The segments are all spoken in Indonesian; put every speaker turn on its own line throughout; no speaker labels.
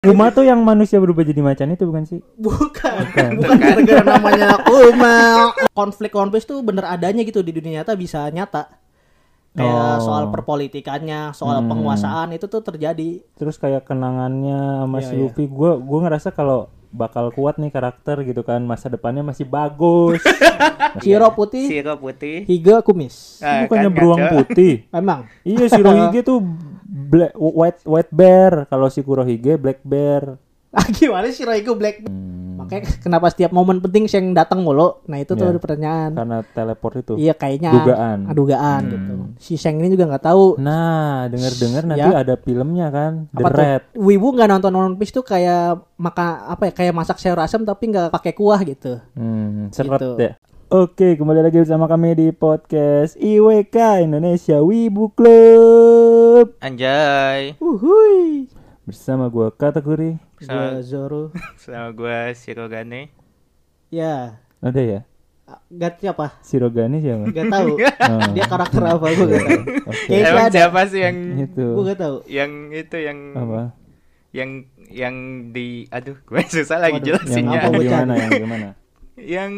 Kuma tuh yang manusia berubah jadi macan itu bukan sih?
Bukan, bukan gara-gara namanya Kuma. Konflik-konflik tuh bener adanya gitu di dunia nyata bisa nyata. Kayak
Oh.
soal perpolitikannya, soal
Hmm.
penguasaan itu tuh terjadi.
Terus kayak kenangannya sama
Iya,
si
iya.
Luffy, gua gua ngerasa kalau bakal kuat nih karakter gitu kan, masa depannya masih bagus.
Shiro putih,
Siro putih.
Higa kumis.
Ah,
Bukannya
kan
beruang
kacau.
putih.
Emang
Iya, si Rohige tuh black, white white bear, kalau si Kurohige black bear.
Ah, gimana Shiro itu black?
Hmm.
Makanya kenapa setiap momen penting Sheng datang mulu? Nah, itu tuh
Iya.
pertanyaan.
Karena teleport itu.
Iya, kayaknya
Dugaan. Hmm.
Ah, dugaan gitu. Si Sheng ini juga nggak tahu
Nah, denger-dengar nanti ada filmnya kan, The
Ya. apa tuh?
Red.
Wibu nggak nonton One Piece tuh kayak maka apa ya kayak masak sayur asam tapi nggak pakai kuah gitu.
Hmm, seret
Gitu.
ya. Oke, kembali lagi bersama kami di podcast IWK Indonesia Wibu Club.
Anjay.
Uhuy.
Bersama gua kategori.
Gua Zoro.
Sama gua Siro Gane.
ya,
Ada ya?
Gat siapa?
Sirogane siapa?
Gak tahu. Dia karakter apa gua gak tahu.
Oke.
Kayaknya
Emang
Iya, ada.
siapa sih yang
Itu.
Hmm, Gua gak tahu.
yang itu yang
Apa?
yang yang di aduh gue susah
Waduh,
lagi
Yang
jelasinnya.
apa,
yang
bocah?
gimana yang gimana?
Yang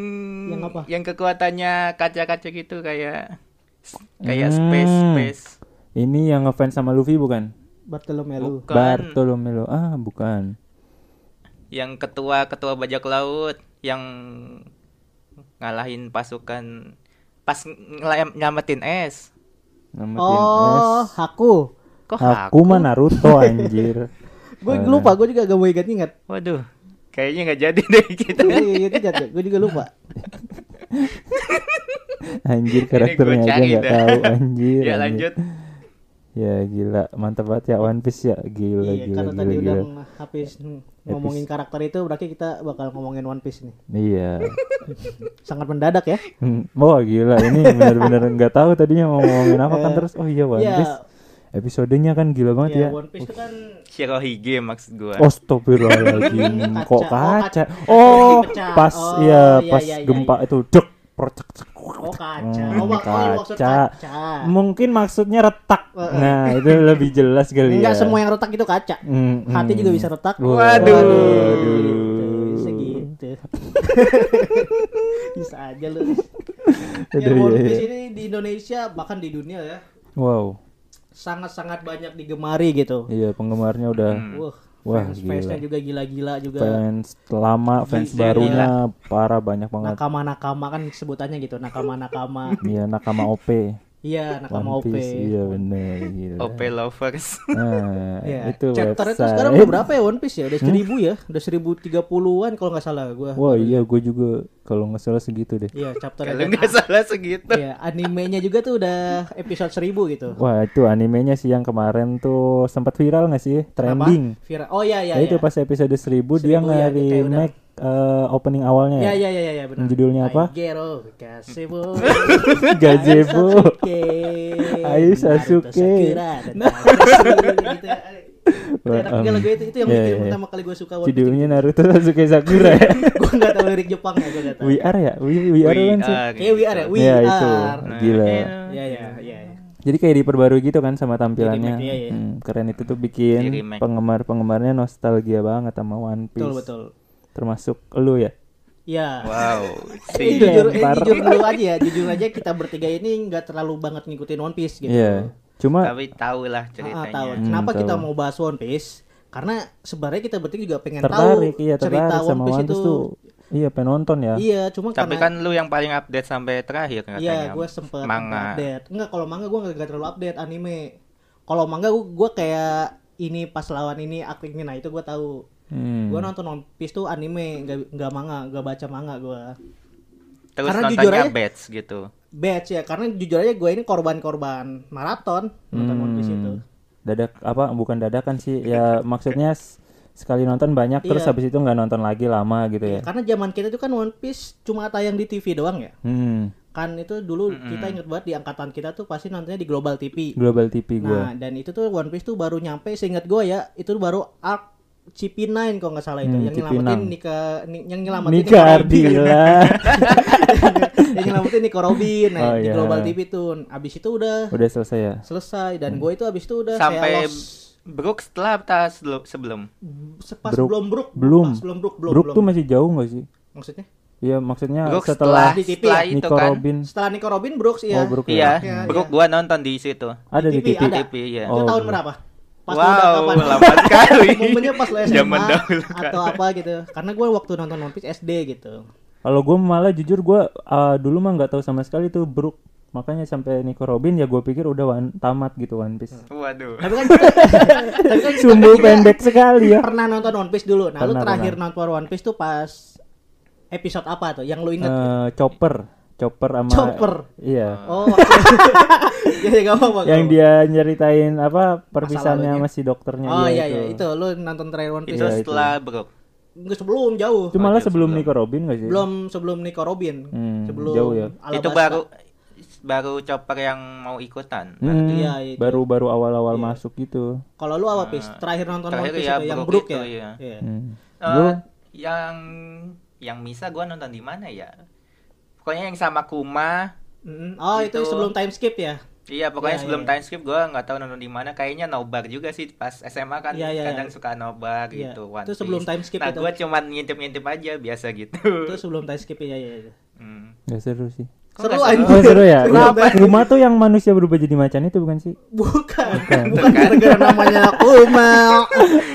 Yang apa?
yang kekuatannya kaca-kaca gitu kayak kayak
Hmm.
space space.
Ini yang ngefans sama Luffy bukan?
Bartolomeo.
Bukan.
Bartolomeo. Ah, bukan.
Yang ketua ketua bajak laut yang ngalahin pasukan pas ngelayam- nyamatin es.
Nama
Oh, Haku.
Kok
Aku mah Naruto anjir.
Gue lupa, gue juga gak mau ingat-ingat.
Waduh, kayaknya nggak jadi deh kita.
Gue ya. juga lupa.
Anjir
gua
karakternya aja
cari
nggak
dah.
tahu anjir.
ya
anjir.
lanjut.
Ya gila, mantap banget ya One Piece ya. Gila
Iya,
gila
karena
gila
tadi
gila.
udah habis ngomongin karakter itu, berarti kita bakal ngomongin One Piece nih.
Iya.
Sangat mendadak ya.
Hmm, Oh gila ini benar-benar nggak tahu tadinya mau ngomongin apa kan terus oh iya One
Iya.
Piece episodenya kan gila banget ya.
Iya, One Piece itu kan
Shirohige maksud gua.
Oh, Astagfirullahaladzim
Kaca.
kok
Oh,
kaca.
kaca.
Oh,
Pecah.
pas
Oh,
ya
iya,
pas
iya, iya,
gempa itu dek percek. cek.
Oh kaca.
Hmm,
Oh, mak- oh, maksud
kaca.
kaca.
Mungkin maksudnya retak.
Heeh.
Nah, itu lebih jelas kali
Enggak
ya.
semua yang retak itu kaca.
Mm, mm.
Hati juga bisa retak.
Waduh.
Waduh. Gitu, bisa gitu. bisa aja lu. Ya,
Aduh,
One
iya,
Piece
iya.
ini di Indonesia bahkan di dunia ya
Wow.
sangat-sangat banyak digemari gitu.
Iya, penggemarnya udah
Wah,
Wah,
fans fansnya
gila.
juga gila-gila juga.
fans lama, fans barunya parah banyak banget.
Nakama-nakama kan sebutannya gitu, nakama-nakama.
Iya, nakama OP.
iya,
One
nakama OP.
Piece, iya bener gila.
OP lovers.
Nah,
Iya.
itu
Chapternya tuh
website. Hmm?
sekarang udah berapa ya One Piece ya? Udah seribu ya, udah seribu tiga puluhan kalau nggak salah gua.
Wah iya gue juga kalau nggak salah segitu deh.
Iya, chapter
Kalau nggak salah segitu.
Iya, animenya juga tuh udah episode 1000 gitu.
Wah itu animenya sih yang kemarin tuh sempat viral nggak sih trending.
Apa? Viral. Oh iya iya.
Ya, itu
iya.
pas episode 1000 dia
Seribu, ya,
ngari
kayak udah.
remake eh, opening awalnya
Iya
ya.
iya iya iya ya, benar.
Judulnya apa?
Aigero Gazebo. iya.
Gazebo. Ayu
Ayu
Sasuke.
Sasuke. Naruto gitu. ya.
Wah,
Enak juga
em,
lagu itu. Itu yang
iya,
bikin
iya.
pertama kali gue suka One Piece.
Judulnya Naruto Sasuke Sakura ya.
Gue enggak tahu lirik Jepang ya, gue enggak tahu.
We are ya, we, we are kan sih.
Kayak we are ya, we
Iya,
are.
itu. Gila.
Iya iya iya. iya.
Jadi kayak diperbarui gitu kan sama tampilannya.
Di remake, iya, iya.
Hmm, keren itu tuh
Di
bikin
remake.
penggemar-penggemarnya nostalgia banget sama One Piece.
Betul betul.
Termasuk lu ya.
Iya.
Wow.
Ini
Si
jujur, ini
Dilempar.
jujur dulu aja ya, jujur aja kita bertiga ini nggak terlalu banget ngikutin One Piece gitu.
Iya. Cuma
tapi tahu lah
Ah,
ceritanya.
tahu.
Hmm,
Kenapa kita
tahu.
mau bahas One Piece? Karena sebenarnya kita bertiga juga pengen
tertarik
tahu
iya
cerita
tertarik sama One Piece
itu.
tuh. Iya, penonton ya.
Iya, cuma
Tapi
karena
kan lu yang paling update sampai terakhir katanya.
iya gue sempet
manga.
update. Enggak, kalau manga gue nggak terlalu update anime. Kalau manga gue gue kayak ini pas lawan ini aktingnya nah itu gue tahu.
Hmm.
Gue nonton One Piece tuh anime, nggak nggak manga, nggak baca manga gue.
Terus
Karena jujur
nontonnya
aja-
batch gitu.
Batch ya, karena jujur aja gue ini korban-korban maraton nonton One Piece itu.
Hmm. Dadak apa bukan dadakan sih ya maksudnya s- sekali nonton banyak terus
Iya.
habis itu nggak nonton lagi lama gitu ya.
Karena zaman kita tuh kan One Piece cuma tayang di TV doang ya.
Hmm.
kan itu dulu kita inget banget di angkatan kita tuh pasti nontonnya di Global TV.
Global TV gua.
Nah, dan itu tuh One Piece tuh baru nyampe seingat gue ya, itu baru arc CP9 kalau nggak salah itu
Hmm,
yang nyelamatin
CP9.
Nika ni- yang nyelamatin
Nika Ardila.
yang nyelamatin Nico Robin nah,
Oh,
di
iya.
Global TV tuh. Abis itu udah
Udah selesai ya.
selesai dan gue itu abis itu udah
Sampai
saya Iya, lost
Brook setelah atau sebelum- sebelum?
Pas
Brook.
belum Brook,
Belum.
Pas belum Brook, belum.
Brook
belum.
tuh masih jauh nggak sih?
Maksudnya?
Iya maksudnya
Brook
setelah,
setelah
Di
setelah,
TV ya?
itu
Nico
kan.
Robin.
Setelah Nico Robin Brooks ya.
Oh, Brook
Iya,
Iya,
Brook
iya.
gua nonton di situ.
Ada di TV.
TV, ada.
TV ya.
Itu
Oh,
tahun
belum.
berapa? Pas lu udah
wow,
kapan?
lama sekali.
Momennya pas lo SMA
Zaman dahulu kan.
atau apa gitu. Karena gue waktu nonton One Piece SD gitu.
Kalau gue malah jujur gue uh, dulu mah nggak tahu sama sekali tuh Brook. Makanya sampai Nico Robin ya gue pikir udah wan- tamat gitu One Piece.
Waduh.
Tapi kan kita, tapi kan kita
Sumbu pendek sekali ya.
pernah nonton One Piece dulu. Nah, lu
Pernah,
terakhir nonton One Piece tuh pas episode apa tuh? Yang lu inget?
Eh, chopper, chopper sama
Chopper.
Iya.
Eh.
Oh, ya ya, gak apa-apa.
Yang
gak
dia nyeritain apa perpisahannya sama si dokternya.
apa-apa. Oh
iya
iya iya itu lu nonton terakhir One Piece.
Itu
Iya, itu.
setelah Brook.
Nggak, sebelum jauh.
Itu malah sebelum Nico Robin gak sih?
Belum sebelum Nico Robin.
Hmm,
sebelum
jauh ya.
Alabasta.
Itu baru baru chopper yang mau ikutan.
Hmm,
Iya, itu.
baru-baru awal-awal masuk gitu.
Kalau lu apa, Pis? Terakhir nonton One
Terakhir
Piece
ya,
itu yang Brook
Brook
ya?
itu, iya.
Iya.
Hmm.
Eh,
Lu
yang yang Misa gua nonton di mana ya? Pokoknya yang sama Kuma.
Mm, Oh, itu
Itu.
sebelum time skip ya?
Iya, pokoknya
Iya,
sebelum
iya.
time skip gua nggak tahu nonton di mana. Kayaknya nobar juga sih pas SMA kan
Iya, iya,
kadang
iya.
suka nobar
Iya.
gitu. One
Itu sebelum
Piece.
time skip
Nah,
itu.
gua cuman ngintip-ngintip aja biasa gitu.
Itu sebelum time skip ya, ya, ya.
Hmm.
gak seru sih.
Kok
Seru
nggak
anjing.
Oh seru ya.
Kenapa?
Rumah tuh yang manusia berubah jadi macan itu bukan sih?
Bukan.
Bukan.
Gitu
Bukan gara-gara namanya Kuma.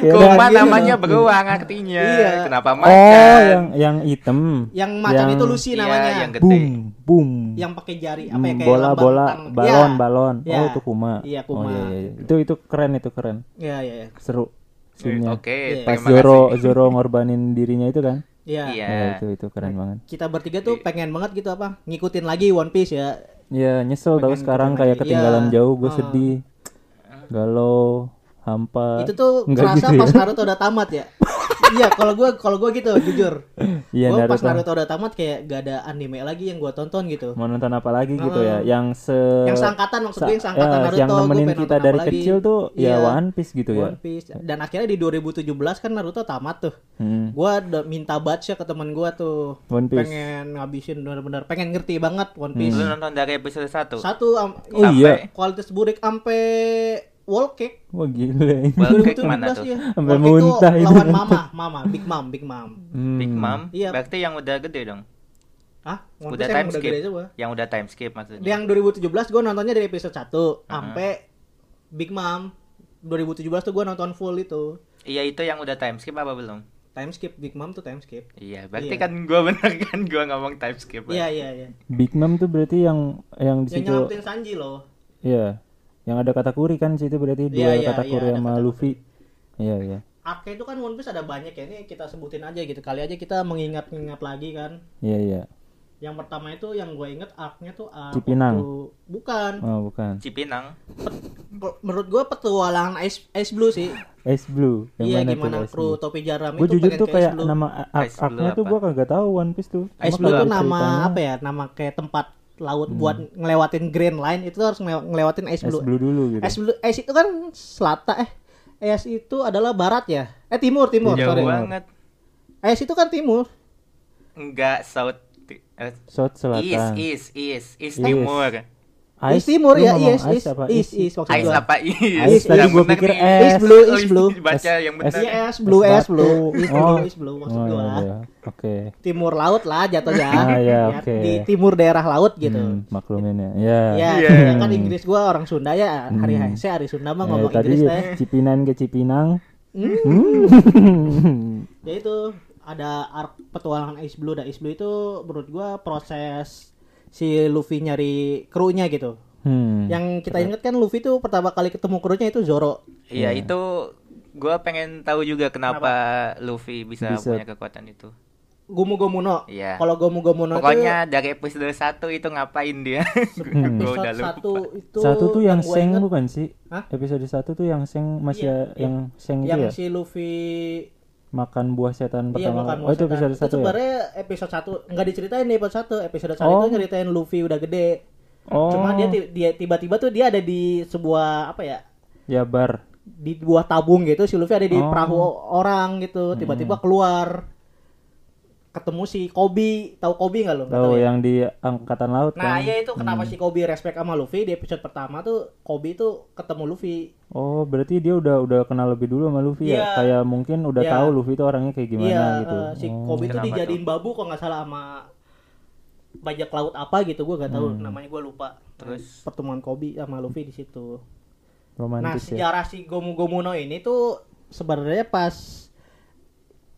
Ya udah.
kan? Kuma
Iya, iya.
namanya beruang artinya.
Iya.
Kenapa macan?
Oh yang yang hitam.
Yang macan itu Lucy
Iya,
namanya.
yang
Yang,
gede.
Boom, boom.
pakai jari apa ya kayak
Hmm, bola
lambang
bola
tang-
balon
Ya.
balon
Ya.
oh itu kuma
Iya,
oh
Kuma.
iya, iya, iya. itu itu keren itu keren
Iya, iya, iya.
seru
Eh,
scene-nya.
Oke,
Iya.
pas
terima
Zoro
kasih.
Zoro ngorbanin dirinya itu kan
Iya.
Iya.
Iya, itu itu keren banget
Kita bertiga tuh pengen banget gitu apa? Ngikutin lagi One Piece ya.
ya nyesel tau
Pengen
sekarang
gitu
kayak
lagi.
ketinggalan
Iya.
jauh gue
Ah.
sedih galau hampa
Itu tuh
Nggak
kerasa
gitu ya.
pas Naruto udah tamat ya. Iya, kalau gua kalau gua gitu jujur.
Iya,
gua pas
Naruto.
Naruto udah tamat kayak gak ada anime lagi yang gua tonton gitu.
mau nonton apa lagi gitu ya yang se
Hmm. Yang seangkatan maksud gue yang
sa-
seangkatan
ya,
Naruto
yang
gua
nemenin
pengen
kita
nonton
dari
apa lagi.
kecil tuh ya
Iya.
One Piece gitu ya
One Piece dan akhirnya di 2017 kan Naruto tamat tuh.
Hmm.
Gua udah minta baca ke teman gua tuh.
One Piece. Hmm.
Pengen ngabisin bener-bener pengen ngerti banget One Piece.
Lu nonton dari episode 1.
Satu am-
oh iya
Sampai-
kualitas burik ampe wall cake.
wah gila ini
Wall cake mana
2017
tuh?
ya.
Sampai
Wall cake tuh
muntah itu
Lawan
nonton.
Mama, Mama, Big Mom, Big Mom.
Hmm.
Big Mom.
Iya.
Berarti yang udah gede dong.
Hah? One
udah
Piece emang
time skip.
gede semua.
yang udah time skip maksudnya.
Yang 2017 gua nontonnya dari episode 1 sampai Big Mom. 2017 tuh gua nonton full itu.
Iya itu yang udah time skip apa belum?
Time skip Big Mom tuh time skip.
Iya, berarti
Iya.
kan gua bener kan gua ngomong time skip.
Iya, iya, iya.
Big Mom tuh berarti yang yang di
Yang
situ
nyelamatin Sanji loh.
Iya. Yang ada kata kuri kan situ berarti dua
Iya, iya,
kata
iya,
kuri
ada
sama
katakuri.
Luffy. Iya, iya.
Arke itu kan One Piece ada banyak ya. Ini kita sebutin aja gitu. Kali aja kita mengingat-ingat lagi kan.
Iya, iya.
Yang pertama itu yang gue inget arc-nya tuh arc
Cipinang.
waktu- Bukan.
Oh, bukan.
Cipinang.
Pe- Menurut gue petualangan Ice, Ice Blue sih.
Ice Blue. Yang
Iya
mana
gimana
tuh?
kru topi jaram
Gue
itu
jujur
pengen
tuh
ke
kayak
Ice Blue.
nama
Ice Blue
aknya tuh
apa?
gue kagak tahu One Piece tuh. Cuma
Ice Blue
kalau
tuh nama
ceritanya,
apa ya? Nama kayak tempat laut buat ngelewatin Grand Line itu harus ngelew- ngelewatin Ice
Ice
Blue.
Blue dulu gitu.
Ice Blue, Ice itu kan selatan eh. Ice itu adalah barat ya? Eh timur, timur,
Jauh
sorry.
banget.
Ice itu kan timur.
Enggak south eh,
South
East,
Selatan.
east, east, east
East.
timur.
Ice, timur
Lu
ya,
ngomong
yes,
ice
yes,
apa?
yes, yes, maksud
Ice
gua.
apa east?
Ice, tadi
Yang
gua
bener
pikir
nih.
es.
Ice blue,
Oh,
ice blue.
Baca yang
Es-
bener.
Iya, es blue,
batu.
es blue, es blue,
Oh.
es blue maksud
Oh, iya,
gua.
iya. Oke.
Timur laut lah jatuhnya.
Ah, iya,
Ya,
oke.
Di timur daerah laut gitu.
Hmm, maklumin ya. Iya.
Ya,
Iya.
ya kan Inggris gua orang Sunda ya. Hari saya hari Sunda mah
Eh,
ngomong
tadi
Inggris teh.
Cipinang ke Cipinang. Hmm.
Ya itu ada arc petualangan Ice Blue. Dan Ice Blue itu menurut gua proses si Luffy nyari krunya gitu.
Hmm.
Yang kita inget kan Luffy tuh pertama kali ketemu krunya itu Zoro.
Iya, itu gua pengen tahu juga kenapa, Luffy bisa,
Bisa.
punya kekuatan itu.
Gumu Gomuno.
Iya.
Kalau Gumu Gomuno
Pokoknya dari episode 1 itu ngapain dia?
itu
Gua
episode
udah
satu
lupa.
itu
satu tuh yang
gua
seng
inget,
bukan sih?
Hah?
Episode satu tuh yang seng masih
Iya,
ya- yang seng itu
yang
ya?
si Luffy
Makan buah setan
iya
pertama.
makan
oh itu
masakan.
episode
Itu
satu ya?
sebenarnya episode 1 nggak diceritain di episode 1. Episode 1
Oh.
itu nyeritain Luffy udah gede.
Oh.
Cuma dia ti- dia tiba-tiba tuh dia ada di sebuah apa ya?
Jabar.
di buah tabung gitu si Luffy ada di
Oh.
perahu orang gitu tiba-tiba keluar ketemu si Kobi tahu Kobi nggak lo Nggak
Tahu
ya?
yang di angkatan laut kan?
nah iya itu kenapa si Kobi respect sama Luffy di episode pertama tuh Kobi tuh ketemu Luffy
Oh, berarti dia udah udah kenal lebih dulu sama Luffy
Iya.
ya. Kayak mungkin udah
Iya.
tahu Luffy itu orangnya kayak gimana
iya
gitu.
eh, si
Oh.
Kobi tuh
Kenapa
dijadiin babu kalau nggak salah sama bajak laut apa gitu gue nggak
Hmm.
tahu namanya gue lupa
Terus?
pertemuan Kobi sama Luffy di situ Nah,
Romantis ya.
sejarah si Gomu Gomuno ini tuh sebenarnya pas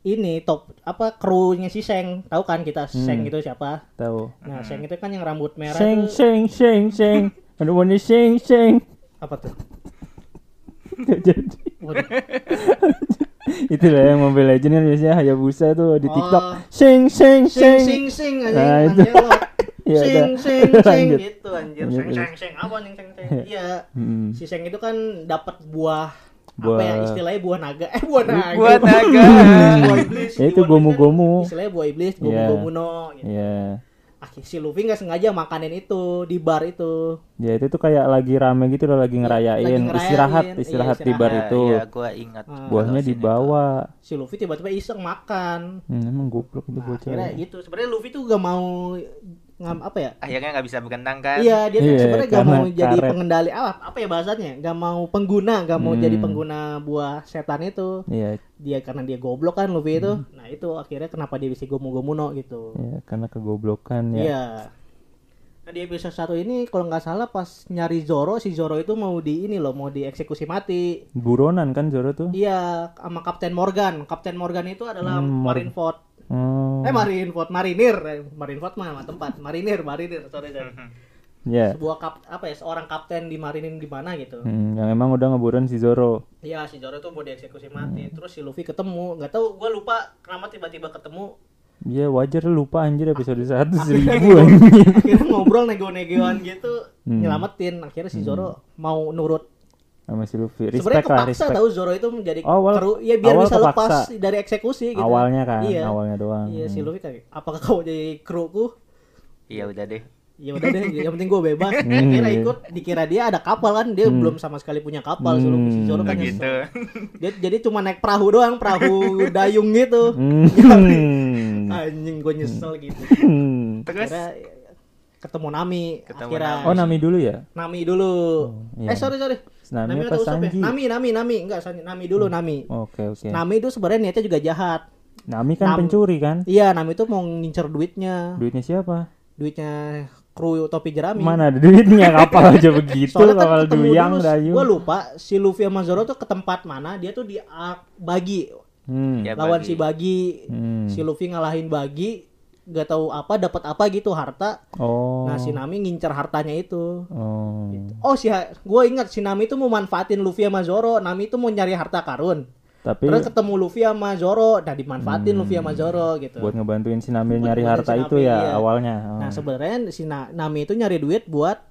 ini top apa krunya si Seng, tahu kan kita Seng itu siapa?
Tahu.
Nah, Seng itu kan yang rambut merah
Hmm. Seng
tuh
seng seng seng. I don't wanna sing sing.
apa tuh?
Nggak jadi.
Waduh.
Itulah yang Mobile Legends kan biasanya Hayabusa tuh di
Oh.
TikTok. Sing sing sing.
Seng sing sing
Nah, itu.
anjing, anjing lo.
Ya,
Sing
udah.
sing sing
Lanjut.
gitu anjir.
Lanjut,
Seng
lanjut.
seng seng apa anjing seng seng. Iya.
Hmm.
Si Seng itu kan dapat buah, apa
Buah-
ya istilahnya buah naga. Eh buah naga.
Buat naga.
Buah iblis.
Ya, itu
Buah iblis kan
gomu-gomu.
Istilahnya buah iblis,
Iya.
gomu-gomuno gitu.
Ya.
Akhirnya si Luffy nggak sengaja makanin itu di bar itu.
Ya itu tuh kayak lagi rame gitu loh lagi ngerayain,
Iya, Lagi ngerayain.
istirahat
Iya,
istirahat di
istirahat. Iya,
bar itu.
iya,
Ya, gua ingat.
Hmm.
Buahnya
Kalau sini
dibawa.
Si Luffy tiba-tiba iseng makan.
Hmm, emang goblok itu
Nah,
bocah.
akhirnya gitu. Sebenarnya Luffy tuh gak mau ngam apa ya?
tuh. Akhirnya nggak bisa berenang kan?
Iya, dia tuh
Iya,
sebenarnya gak
karena
mau jadi
karet.
pengendali apa, apa ya bahasanya? Gak mau pengguna, gak mau
Hmm.
jadi pengguna buah setan itu.
Iya,
Dia karena dia goblok kan Luffy itu.
Hmm.
Nah, itu akhirnya kenapa dia bisa gomu-gomuno gitu.
iya, karena kegoblokan ya.
Iya. Nah, di episode satu ini kalau nggak salah pas nyari Zoro, si Zoro itu mau di ini loh, mau dieksekusi mati.
Buronan kan Zoro tuh.
Iya, sama Kapten Morgan. Kapten Morgan itu adalah
Hmm, Mor-
Marineford.
Oh.
Eh Marineford, marinir. Eh, Marineford mah nama tempat. Marinir, marinir. Sorry, sorry.
Ya.
Sebuah kap apa ya, seorang kapten di marinin di mana gitu.
Hmm, yang emang udah ngeburon si Zoro.
Iya, si Zoro tuh mau dieksekusi mati. Terus si Luffy ketemu. Nggak tahu, gua lupa kenapa tiba-tiba ketemu.
Iya, wajar lu lupa anjir episode
Ah.
1
Akhirnya
seribu anjir.
Akhirnya ngobrol nego-negoan gitu,
Hmm.
nyelamatin. Akhirnya si Zoro mau nurut.
Sama si Luffy.
Sebenarnya
Respect lah,
kepaksa
respect.
tahu Zoro itu menjadi
Awal-
keru, ya biar
awal
bisa
kepaksa.
lepas dari eksekusi gitu.
Awalnya kan,
Iya.
awalnya doang.
Iya, si Luffy kayak, apakah kau jadi kruku?
Iya udah deh.
ya udah deh yang penting gue bebas
Hmm.
Akhirnya ikut dikira dia ada kapal kan dia belum sama sekali punya kapal si Luffy.
Hmm.
si Zoro kan
Nggak gitu.
dia jadi cuma naik perahu doang perahu dayung gitu
Hmm.
anjing gue nyesel gitu
Hmm.
Terus
Akhirnya ketemu Nami
Ketemu
akhirnya
Oh, Nami dulu ya?
Nami dulu
iya.
eh sorry sorry
Nami apa
atau Usopp ya?
Sanji? Oh,
Nami Nami Nami enggak Sanji Nami dulu Nami
Oke, oke.
Nami itu sebenarnya niatnya juga jahat
Nami kan
Nam-
pencuri kan?
iya Nami itu mau ngincer duitnya
Duitnya siapa?
duitnya kru topi jerami
Mana ada duitnya kapal aja begitu kapal
kan ketemu
duyang
dulu,
dayu.
Gua lupa si Luffy sama Zoro tuh ke tempat mana, dia tuh di ah, bagi
Hmm.
Ya,
lawan
Bagi.
si Bagi.
Hmm.
Iya. Si Luffy ngalahin Bagi, gak tahu apa dapat apa gitu harta.
Oh.
Nah, si Nami ngincer hartanya itu.
Oh.
Oh, si gue ingat si Nami itu mau manfaatin Luffy sama Zoro. Nami itu mau nyari harta karun.
Tapi
Terus ketemu Luffy sama Zoro, nah dimanfaatin Luffy sama Zoro gitu.
Hmm. buat ngebantuin si Nami
Buat
nyari harta
ngebantuin si
itu
Nami,
ya
iya.
awalnya. Oh.
Nah, sebenarnya si Na- Nami itu nyari duit buat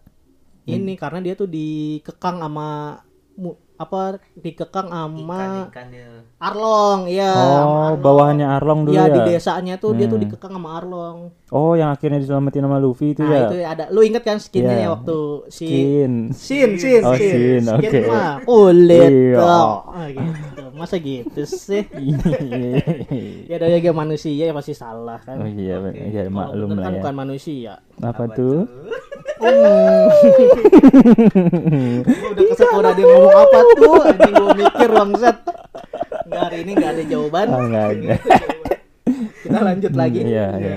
ini
Hmm.
karena dia tuh dikekang sama mu- apa dikekang sama
ikan ikan dia.
Arlong, iya. sama
oh,
Arlong.
bawahannya Arlong dulu
Iya,
ya.
di desanya tuh dia tuh
Hmm.
dikekang sama Arlong.
Oh, yang akhirnya diselamatin sama Luffy itu
Nah,
ya.
itu ada. Lu inget kan
Iya.
skinnya ya waktu si
Skin.
Sin, sin,
Oh,
sin.
Sin, oke.
mah kulit
Iya.
dong. Ah, gitu. Masa gitu sih?
Oh,
Ya dari gak manusia ya pasti salah kan.
oh iya, bener. iya
Kalau
maklum
bener
lah
kan
ya.
bukan manusia.
Apa tuh?
Gua udah kesekolah dia ngomong apa tuh? Anjing gua mikir bangsat. Nggak, hari ini nggak ada jawaban.
Oh, enggak ada.
Kita lanjut lagi.
Iya, iya.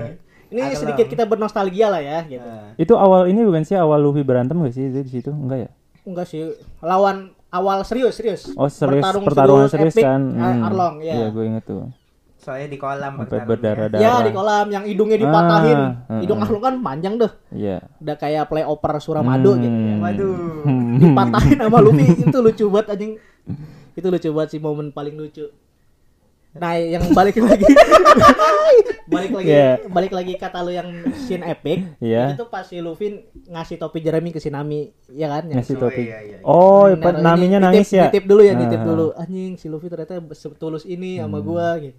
Ini sedikit kita bernostalgia lah ya gitu.
itu awal ini bukan sih awal Luffy berantem gak sih itu di situ? Enggak ya?
Enggak sih. Lawan awal serius, serius.
Oh, serius pertarungan serius
epic,
kan.
eh,
Hmm.
Arlong ya.
Iya, gue inget tuh.
Soalnya di kolam
Sampai
bertarungnya.
berdarah-darah.
Ya di kolam yang hidungnya dipatahin.
Ah, heeh.
Hidung Arlong kan panjang deh.
Iya.
Udah kayak play opera Suramadu
Hmm.
gitu ya.
Waduh.
Dipatahin sama Luffy itu lucu banget anjing. Itu lucu banget sih momen paling lucu. Nah, yang balik lagi balik lagi
Iya.
balik lagi kata lu yang scene epic
Iya.
itu pas si Luffy ngasih topi jerami ke si Nami ya kan yang
Ngasih
Oh,
topi.
iya, iya, iya.
Oh,
Nah,
pe-
ini
naminya
nitip-
nangis ya.
Nitip dulu ya, nitip
Ah. Hmm.
dulu. Anjing si Luffy ternyata setulus ini sama gua gitu.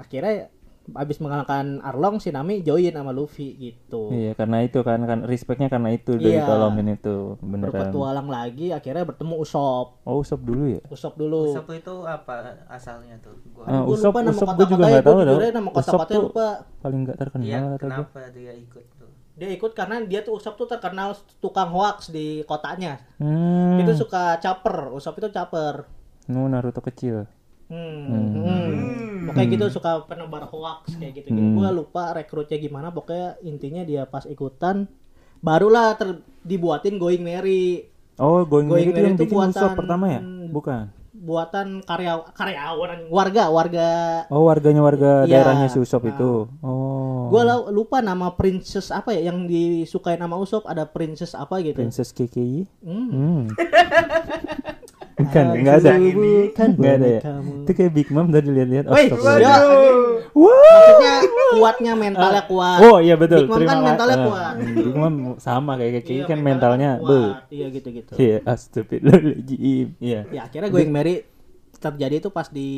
Akhirnya abis mengalahkan Arlong si Nami join sama Luffy gitu
Iya karena itu kan kan respectnya karena itu dari
Iya.
tolongin itu beneran.
berpetualang lagi akhirnya bertemu Usopp
Oh Usop dulu ya.
Usopp dulu
Usop itu apa asalnya tuh? Gua
Ah,
Gua
Usopp
lupa nama
Usopp gue
kotak-kotaknya,
juga nggak
gua
tahu
jujur
dong.
aja nama
Usopp
kotak-kotaknya
tuh
lupa.
paling nggak terkenal
Iya,
kata gua.
kenapa dia ikut tuh?
dia ikut karena dia tuh Usopp tuh terkenal tukang hoax di kotanya
Hmm.
itu suka caper Usopp itu caper
Nu Naruto kecil.
Hmm. hmm. Pokoknya gitu suka penebar hoax kayak gitu.
Hmm.
Gue lupa rekrutnya gimana. Pokoknya intinya dia pas ikutan barulah ter- dibuatin Going Merry
Oh Going, Merry
Going
itu
Merry
yang
itu
bikin Usopp
buatan- Hmm.
pertama ya? Bukan.
buatan karya karyawan anjing. warga warga.
Oh warganya warga
Iya.
daerahnya si Usop
Nah.
itu. Oh.
Gue lupa nama princess apa ya yang disukai nama Usop ada princess apa gitu.
Princess KKI.
Hmm.
Hmm. Bukan, enggak ada.
Bukan
Enggak ada ya.
bonekamu.
Itu kayak Big Mom tadi lihat-lihat.
kan Woi,
Astagfirullah.
ya,
Wah.
maksudnya kuatnya mentalnya kuat.
Oh iya betul.
Big Mom kan
kasih.
mentalnya
Ah,
kuat.
Big Mom sama kayak KKI
Iya,
kan mentalnya be.
kuat. Iya gitu-gitu.
Iya, astagfirullahaladzim. Iya.
ya akhirnya going merry terjadi itu pas di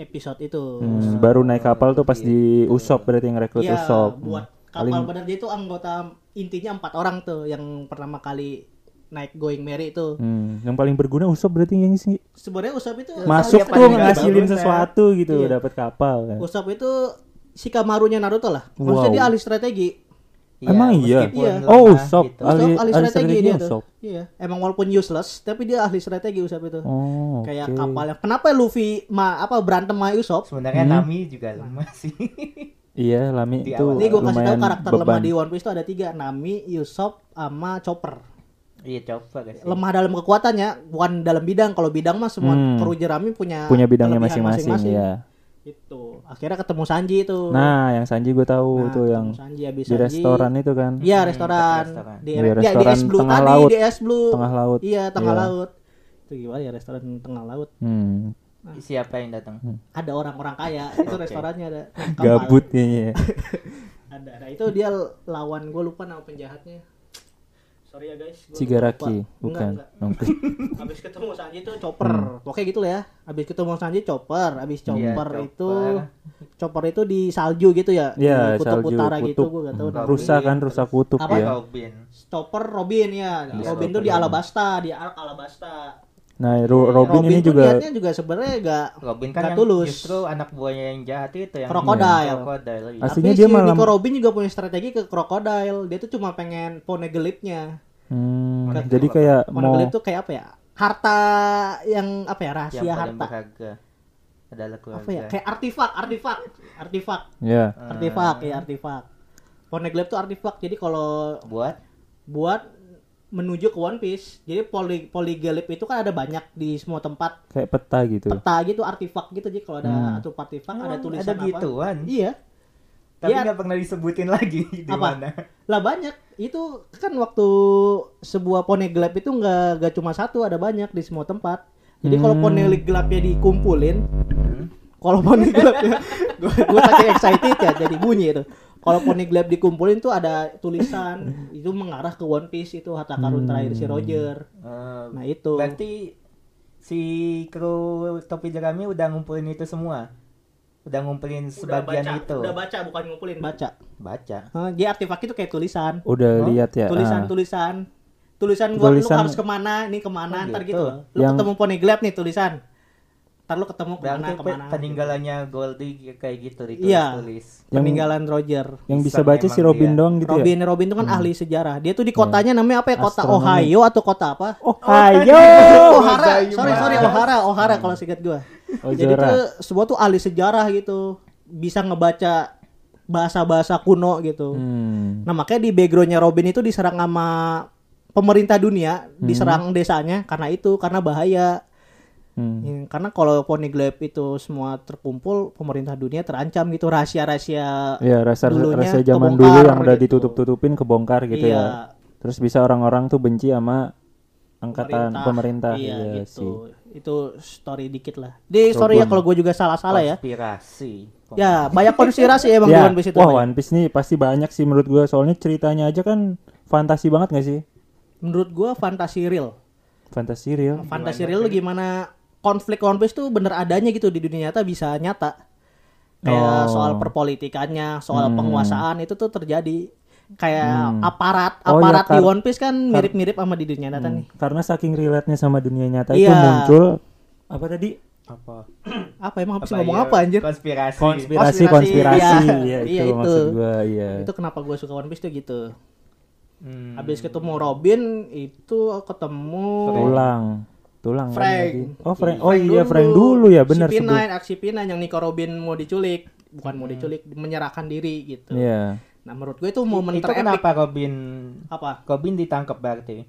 episode itu
Hmm, baru naik kapal tuh pas di Usop berarti yang rekrut
Iya,
Usop.
buat kapal bener dia itu anggota intinya empat orang tuh yang pertama kali naik going merry itu
Hmm, yang paling berguna Usop berarti yang sih
sebenarnya usop ya, itu
masuk
dia
tuh
paling
ngasilin
bagus, ya.
sesuatu gitu
Iya.
dapat kapal kan.
usop itu si kamarunya naruto lah maksudnya
Wow.
dia ahli strategi
Emang iya?
Iya.
Oh, Usop.
gitu.
usop
Ahli,
ahli,
ahli
strategi,
strategi
dia
Usop.
tuh iya emang walaupun useless tapi dia ahli strategi usop itu
Oh, oke.
kayak kapalnya kenapa Luffy ma apa berantem sama usop
Sebenarnya
Hmm.
Nami juga lemah sih.
Iya, Lami
Di
itu
awal.
Ini gue kasih tahu
lumayan
karakter lemah
beban.
di One Piece itu ada tiga, Nami, Usopp, sama Chopper.
Iya coba guys.
Lemah dalam kekuatannya, bukan dalam bidang. Kalau bidang mah semua
Hmm.
kru jerami punya
Punya bidangnya
kelebihan
masing-masing, ya.
Gitu. Akhirnya ketemu Sanji itu.
Nah, yang Sanji gue tahu
Nah,
tuh
ketemu
yang
Sanji habis
di restoran itu kan.
Iya, restoran.
Hmm, restoran.
Di, ya,
Iya,
di- di
restoran
es Blue
tengah
tadi,
laut.
di es Blue.
Tengah laut.
Iya, tengah
Iya.
laut. Itu gimana ya restoran tengah laut?
Hmm.
Siapa yang datang?
Ada orang-orang kaya, itu
Oke.
restorannya ada. Naik kapal.
Gabut kayaknya. ya.
Ada. Nah, itu dia lawan gue lupa nama penjahatnya. Sorry ya guys. gua lupa.
Cigaraki,
Enggak,
bukan. Hmm.
enggak.
Oke.
Habis ketemu Sanji itu chopper. Pokoknya gitu lah ya. Habis ketemu Sanji chopper, habis chopper
Iya, chopper.
itu chopper itu di salju gitu ya.
Iya,
di kutub
salju,
utara gitu
kutub.
gua enggak tahu.
Hmm.
namanya.
Rusa kan, rusa kutub
Apa?
ya.
Robin.
Chopper Robin ya.
Iya,
Robin tuh di Alabasta, di Ark Alabasta.
Nah,
Hmm.
Ro- Robin, ini
tuh
juga
niatnya juga sebenarnya enggak
Robin
Nggak
kan yang
tulus.
justru anak buahnya yang jahat itu yang
Krokodil.
Krokodil. iya.
Asli.
tapi
Aslinya
si
dia malam-
Nico Robin juga punya strategi ke krokodil. Dia tuh cuma pengen pone gelipnya.
Hmm,
Konek
kan
jadi
gelap.
kayak
Pone
mau
gelip tuh kayak apa ya? Harta yang apa ya?
Yang
Rahasia
paling
harta.
berharga adalah keluarga.
Apa ya? Kayak artefak, artefak, artefak.
ya.
Ah.
artifak ya artifak Poneglyph tuh artifak jadi kalau
Buat
buat menuju ke One Piece jadi poli poliglip itu kan ada banyak di semua tempat
kayak peta gitu.
peta gitu artifak gitu jadi kalau ada
Hmm.
satu artifak Oh, ada
Emang
tulisan
ada gitu?
apa
gituan.
iya
Tapi
Iya.
nggak pernah disebutin lagi di
Apa?
mana.
lah banyak itu kan waktu sebuah poneglyph itu nggak nggak cuma satu ada banyak di semua tempat jadi kalau
Hmm.
poneglyphnya dikumpulin kalau poneglyphnya gue gue pasti excited ya jadi bunyi itu kalau poneglyph dikumpulin tuh ada tulisan itu mengarah ke One Piece itu harta karun
Hmm.
terakhir si Roger
Eh,
nah itu
Berarti si kru topi jerami udah ngumpulin itu semua. Udah ngumpulin sebagian
baca,
itu.
udah baca bukan ngumpulin baca
Baca.
Hah, dia artefak itu kayak tulisan
Udah lihat ya. ah.
tulisan tulisan tulisan buat
Tulisan-
lu harus kemana ini kemana
Oh,
ntar
gitu.
gitu loh. lu
Yang-
ketemu poneglyph nih tulisan ntar lu ketemu kemana
Berarti
kemana gitu.
pe- peninggalannya Goldie kayak gitu
Iya.
ditulis-tulis.
Yang-
peninggalan Roger
yang bisa
Iseng
baca si
emang
Robin
dia.
doang gitu
Robin
ya.
Robin itu kan ahli sejarah dia tuh di kotanya namanya apa ya kota
Astronomi.
Ohio atau kota apa
Oh, ayo.
Oh,
Ohara Oh, sorry sorry
Hmm.
Ohara Ohara kalau singkat gua
Oh,
jadi
Zora.
tuh semua tuh ahli sejarah gitu bisa ngebaca bahasa-bahasa kuno gitu
Hmm.
Nah makanya di backgroundnya Robin itu diserang sama pemerintah dunia, diserang desanya karena itu karena bahaya.
Hmm.
Hmm, Karena kalau Poneglyph itu semua terkumpul, pemerintah dunia terancam gitu rahasia-rahasia.
Ya, rasa
dulunya
rasa zaman
kebongkar
dulu yang udah
gitu.
ditutup-tutupin kebongkar gitu
Iya.
ya. Terus bisa orang-orang tuh benci sama angkatan pemerintah,
Iya,
Iya
gitu.
sih.
Itu story dikit lah. Di sorry ya kalau gue juga salah-salah ya.
Konspirasi.
Ya, banyak konspirasi emang di
Ya,
One Piece itu.
wah
Bang.
One Piece nih pasti banyak sih menurut gua soalnya ceritanya aja kan fantasi banget gak sih?
Menurut gue fantasi real.
Fantasi real.
Fantasi real gimana konflik One Piece tuh bener adanya gitu di dunia nyata bisa nyata. kayak
Oh.
soal perpolitikannya, soal
Hmm.
penguasaan itu tuh terjadi kayak
Hmm.
aparat
Oh,
aparat
iya,
di
kar- Hmm.
One Piece kan mirip-mirip sama di dunia nyata nih.
Karena saking relate-nya sama dunia nyata itu
Iya.
muncul apa tadi?
apa
Apa emang apa sih
Apa
ngomong
iya?
apa anjir?
Kan-
konspirasi
Konspirasi
Konspirasi,
konspirasi
iya.
ya,
Iya,
itu
itu.
maksud gua iya.
Itu kenapa gue suka One Piece tuh gitu.
Hmm.
Habis ketemu Robin itu ketemu
Tulang. Tulang kan
Frank.
tadi. Oh, Frank. Oh iya, Frank dulu ya, benar
si P9,
sebelum.
aksi P9 yang Nico Robin mau diculik, bukan mau diculik, menyerahkan diri
Hmm.
gitu.
Iya.
Nah, menurut gue itu momen
itu
terepik
kenapa Robin
apa?
Robin ditangkap berarti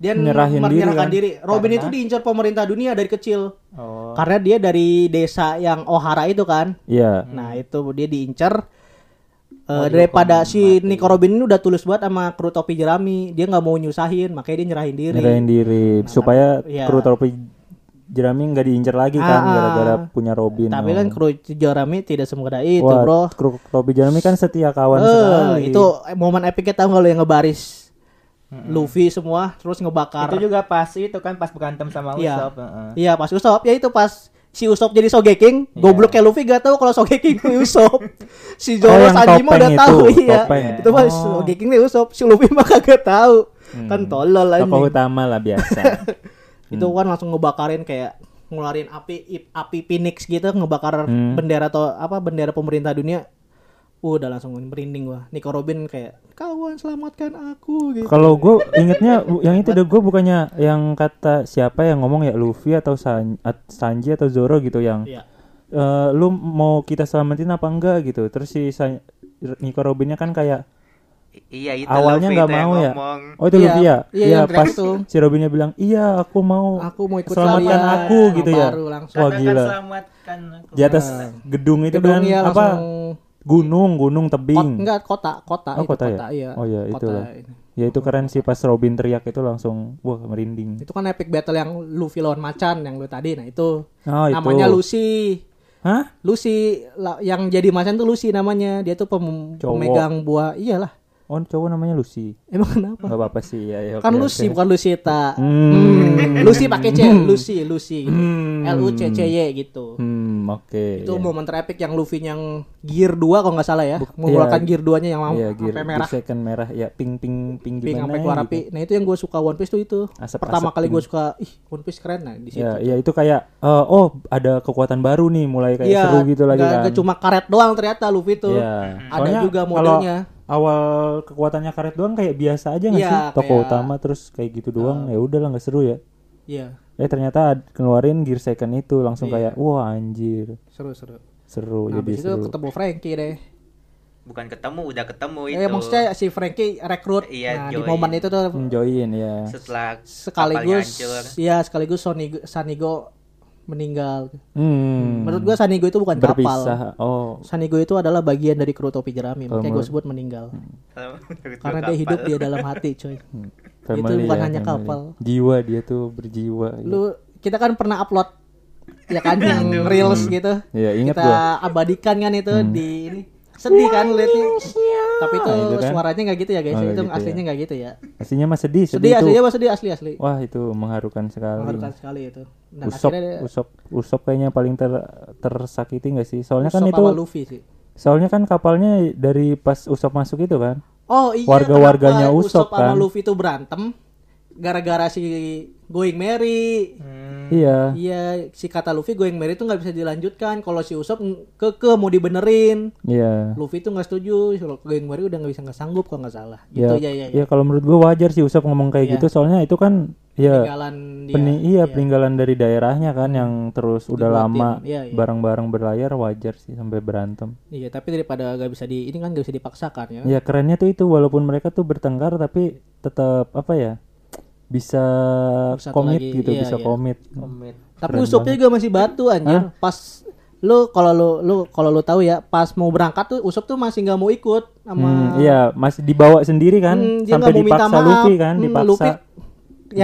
Dia
Menyerahin diri,
menyerahkan
kan?
diri. Robin
Karena-
itu diincar pemerintah dunia dari kecil.
oh
Karena dia dari desa yang Ohara itu kan.
Iya.
Nah, itu dia diincar Eh,
Oh, dia
daripada
hukum
si
mati.
Nico Robin ini udah tulus buat sama kru topi jerami, dia nggak mau nyusahin, makanya dia nyerahin diri.
Nyerahin diri
Nah,
supaya
iya.
kru topi jerami nggak diincar lagi kan
Ah, ah.
gara-gara punya Robin.
Tapi
oh.
kan kru jerami tidak semudah itu,
Wah,
bro.
kru topi jerami kan setia kawan
Eh,
sekali. Hmm.
itu momen epicnya tahu nggak lo yang ngebaris Luffy semua terus ngebakar.
itu juga pas itu kan pas berantem sama
Iya.
Usopp heeh.
Iya pas Usopp ya itu pas si Usopp jadi Sogeking,
Iya.
gobloknya Luffy gak tahu kalau Sogeking itu Usopp. Si
Oh,
Zoro
yang
Sanjima
topeng
udah
itu,
tahu iya.
topeng.
Itu pas
Oh.
Sogeking itu Usopp, si Luffy mah kagak tahu. Kan tolol
tokoh
anjing.
utama lah biasa.
Itu
hmm.
kan langsung ngebakarin kayak ngeluarin api ip- api Phoenix gitu ngebakar
Hmm.
bendera atau apa bendera pemerintah dunia. udah langsung merinding gua. Nico Robin kayak kawan selamatkan aku gitu.
Kalau gue ingetnya bu- yang itu deh gue bukannya yang kata siapa yang ngomong ya Luffy atau San- at- Sanji atau Zoro gitu yang
Iya.
"Eh, lu mau kita selamatin apa enggak gitu. Terus si San- Nico Robinnya kan kayak
I- iya itu
awalnya
Luffy
nggak
tuh yang
mau ya.
ngomong.
Oh itu
Iya,
Luffy ya?
iya, yang
pas
terakhir tuh.
si Robinnya bilang iya aku mau
Aku mau ikut
selamatkan
kalian."
aku gitu ya.
Baru langsung.
Wah
Katakan
gila.
selamatkan aku.
Di atas gedung itu kan
Gedungnya
apa
Eh, iya, langsung-
gunung gunung
Kot,
tebing.
enggak kota, kota
Oh,
itu
kota
kota,
ya?
iya.
Oh, iya,
Kota
itulah.
ini.
Ya itu keren sih pas Robin teriak itu langsung wah merinding.
Itu kan epic battle yang Luffy lawan macan yang lu tadi. Nah, itu
Oh itu.
namanya Lucy.
Hah?
Lucy la- yang jadi macan tuh Lucy namanya. Dia tuh pem-
Cowok.
pemegang buah. Iyalah.
Oh cowok namanya Lucy.
Emang kenapa?
Gak apa-apa sih ya. ya
Hmm. kan
oke,
Lucy
oke.
bukan Lucita.
Hmm.
Hmm. Lucy pakai C, Lucy, Lucy. gitu.
Hmm.
L U C C Y gitu.
Hmm, oke.
Itu
ya.
momen terepik yang Luffy yang gear 2 kalau nggak salah ya.
Buk-
Mengeluarkan
iya.
gear 2-nya yang mau
Iya, gear,
sampai
merah.
merah.
second merah ya ping ping ping
Pink
gimana
sampai keluar
gitu.
api. Nah, itu yang gue suka One Piece tuh itu.
Asap-asap gitu.
Pertama kali gue
pink.
suka, ih, One Piece keren nah di situ.
Ya, ya itu kayak eh, oh ada kekuatan baru nih mulai kayak
Iya,
seru gitu lagi
nggak-
kan.
nggak cuma karet doang ternyata Luffy tuh.
Iya.
Ada
Soalnya
juga
kalau
modelnya.
Awal kekuatannya karet doang kayak biasa aja nggak
Iya,
sih? Toko
kayak-
utama terus kayak gitu doang ya udahlah nggak seru ya.
Iya,
Eh ternyata ad- keluarin gear second itu langsung kayak wah anjir
seru-seru.
seru Oh, jadi
Nah, Iya. habis itu
seru.
ketemu Frankie deh.
Bukan ketemu, udah ketemu Oh, itu.
Eh, maksudnya si Frankie rekrut.
Iya,
nah, di
join.
momen itu tuh
Enjoyin ya.
setelah
sekaligus
kapalnya hancur.
ya sekaligus Sonigo, Sanigo meninggal.
Hmm.
Menurut gue Sanigo itu bukan kapal.
Berpisah. Oh,
Sanigo itu adalah bagian dari kru topi jerami,
Kalau
makanya gue
menurut- Hmm.
sebut meninggal.
Kalau menurut gua
Karena dia
kapal.
hidup dia dalam hati, coy.
Family
bukan
ya,
hanya
family.
kapal.
Jiwa dia tuh berjiwa. gitu.
lu kita kan pernah upload ya kan yang reels gitu
Iya, ingat Hmm.
kita abadikan kan itu di ini sedih kan liatnya tapi itu,
Nah, itu kan.
suaranya nggak gitu ya guys
Oh, nggak
itu
gitu
aslinya nggak gitu ya
Aslinya mah sedih,
sedih
sedih, itu.
aslinya mas sedih asli asli
Wah, itu mengharukan sekali.
mengharukan sekali itu dan
Usop,
akhirnya dia-
Usop, Usop kayaknya paling ter- tersakiti nggak sih? Soalnya kan
Usopp
itu,
sama Luffy sih
soalnya kan kapalnya dari pas Usop masuk itu kan.
oh iya
Warga-warganya
kenapa
Usopp
sama
kan.
Luffy itu berantem gara-gara si Going Merry
Iya.
Iya, si kata Luffy Going Merry itu nggak bisa dilanjutkan. Kalau si Usopp keke mau dibenerin.
Iya.
Luffy tuh nggak setuju, kalau Geng Wari udah nggak bisa nggak sanggup kalau nggak salah.
Ya,
Gitu ya ya.
ya
ya.
kalau menurut gua wajar sih Usop ngomong kayak gitu soalnya itu kan ya
Iya. Peninggalan dia.
peni- iya, peninggalan dari daerahnya kan yang terus udah
Dibuatin,
lama
iya, iya.
barang-barang berlayar wajar sih sampai berantem.
Iya, tapi daripada nggak bisa di ini kan nggak bisa dipaksakan
Ya
ya.
kerennya tuh itu walaupun mereka tuh bertengkar tapi tetap apa ya bisa
Bersatu
komit
lagi,
gitu
iya,
bisa
iya.
komit.
komit
tapi Usopnya juga masih batu anjir. Pas lu kalau lu lu kalau lu tahu ya, pas mau berangkat tuh Usop tuh masih nggak mau ikut sama
Hmm, iya masih dibawa sendiri kan
Hmm, dia
sampai
nggak mau minta
dipaksa
maaf.
Luffy kan
Hmm,
dipaksa.
Luffy yang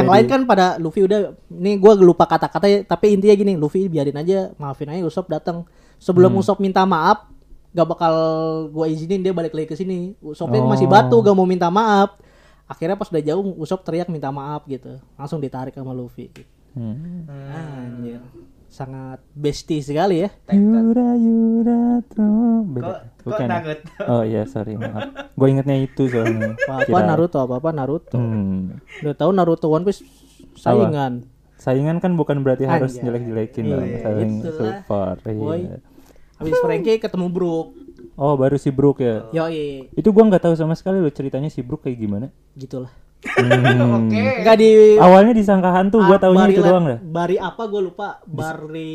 Jadi-
lain kan pada Luffy udah ini gua lupa kata-kata ya, tapi intinya gini, Luffy biarin aja, maafin aja Usopp datang. Sebelum
Hmm.
Usopp minta maaf, gak bakal gua izinin dia balik lagi ke sini. Usoppnya
Oh.
masih batu, gak mau minta maaf. Akhirnya pas udah jauh Usopp teriak minta maaf gitu. Langsung ditarik sama Luffy.
Hmm.
Anjir. gitu. sangat bestie sekali ya.
Titan.
Yura Yura tuh
Kok,
beda.
kok
Bukan. ya?
Naruto?
Oh iya sorry maaf. Gue ingetnya itu soalnya.
Apa
Kirain.
Naruto, apa Naruto.
Hmm.
Udah tahu Naruto One Piece saingan.
Saingan kan bukan berarti harus
Anjay.
jelek-jelekin dong.
Iya,
Saling
itulah,
support.
boy.
Iya.
Habis Frankie ketemu Brook.
Oh baru si Brook ya.
Yoi,
Itu gua nggak tahu sama sekali lo ceritanya si Brook kayak gimana.
gitulah.
Hmm.
Enggak di
Awalnya disangka hantu, gua
Ah,
taunya
Eh, Bari
itu
Lab-
doang dah.
Bari apa gue lupa. Bari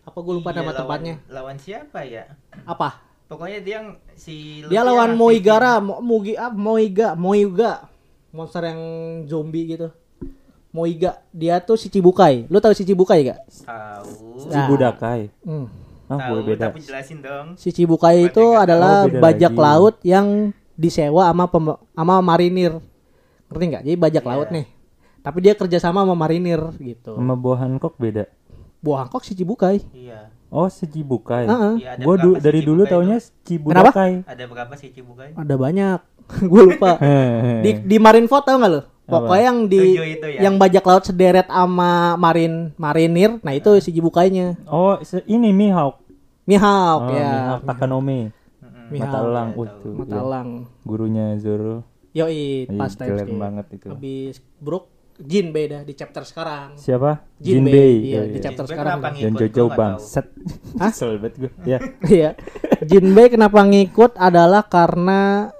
apa gue lupa
Iya,
nama
lawan-
tempatnya.
Lawan siapa ya?
Apa?
Pokoknya dia yang- si
Dia
Luffy
lawan
yang
Moigara, Mo- Mugi ah, Moiga, Moiga. Monster yang zombie gitu. Moiga, dia tuh si Cibukai. Lu tahu si Cibukai gak?
aktifin. Tahu.
Si Budakai.
Hmm.
Ah,
Tahu,
gua beda.
tapi jelasin dong.
Si Cibukai itu
Berarti nggak
adalah
tahu, Oh, beda
bajak
lagi.
laut yang disewa sama pem- sama marinir. Ngerti nggak? Jadi bajak laut nih. Tapi dia kerjasama sama marinir gitu.
Sama Bohan Kok beda.
Buah Hancock si Cibukai.
Iya.
Oh, si Cibukai.
Heeh.
Iya, ada
Gua
berapa
du-
sih
dari
Cibukai
dulu
itu?
taunya Cibudakai.
Ada berapa sih Cibukai?
Ada banyak. gue lupa.
Hehehe.
di di Marineford tau nggak lo? Pokoknya yang di
Tujuh itu ya?
yang bajak laut sederet sama marin marinir, nah itu si jibukainya.
Oh, se- ini Mihawk. Oh,
Mihawk ya.
Mihawk Takanome.
Mm-mm.
Mihawk.
Mata elang.
Iya,
Wih,
tahu.
tuh,
Mata
iya.
elang.
Gurunya Zoro.
Yoi,
Ih,
pas time
keren
skip.
banget itu.
Habis Brook Jin beda di chapter sekarang.
Siapa?
Jinbei.
Jinbei.
Iya,
Iya,
di
iya.
chapter
Jinbei
sekarang.
kenapa
Dan
ngikut? Gua
Jojo
nggak
Bang.
tahu.
Set.
Hah?
Kesel banget gua. Ya.
Iya. Jinbei kenapa ngikut adalah karena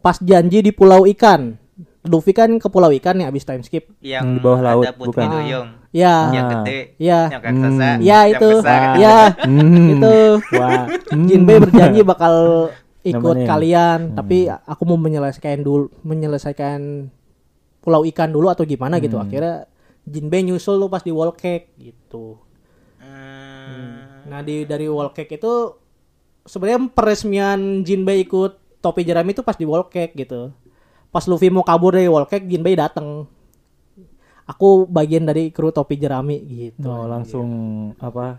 pas janji di Pulau Ikan. Luffy kan ke Pulau Ikan nih abis time skip.
yang
Yang di bawah laut,
ada
bukan?
putri duyung
Ya,
Iya,
yang
Ah.
gede
ya,
yang raksasa
Hmm.
ya
yang
itu,
besar
Ah.
ya
Hmm.
itu.
Wah. Hmm.
Jinbei berjanji bakal ikut
Nemenin.
kalian, tapi aku mau menyelesaikan dulu menyelesaikan pulau ikan dulu atau gimana gitu.
Hmm.
Akhirnya Jinbei nyusul lu pas di wall cake gitu.
Hmm.
Nah, di dari wall cake itu sebenarnya peresmian Jinbei ikut topi jerami itu pas di wall cake gitu. Pas Luffy mau kabur dari wall cake, Jinbei datang. Aku bagian dari kru topi jerami gitu.
Oh, langsung apa?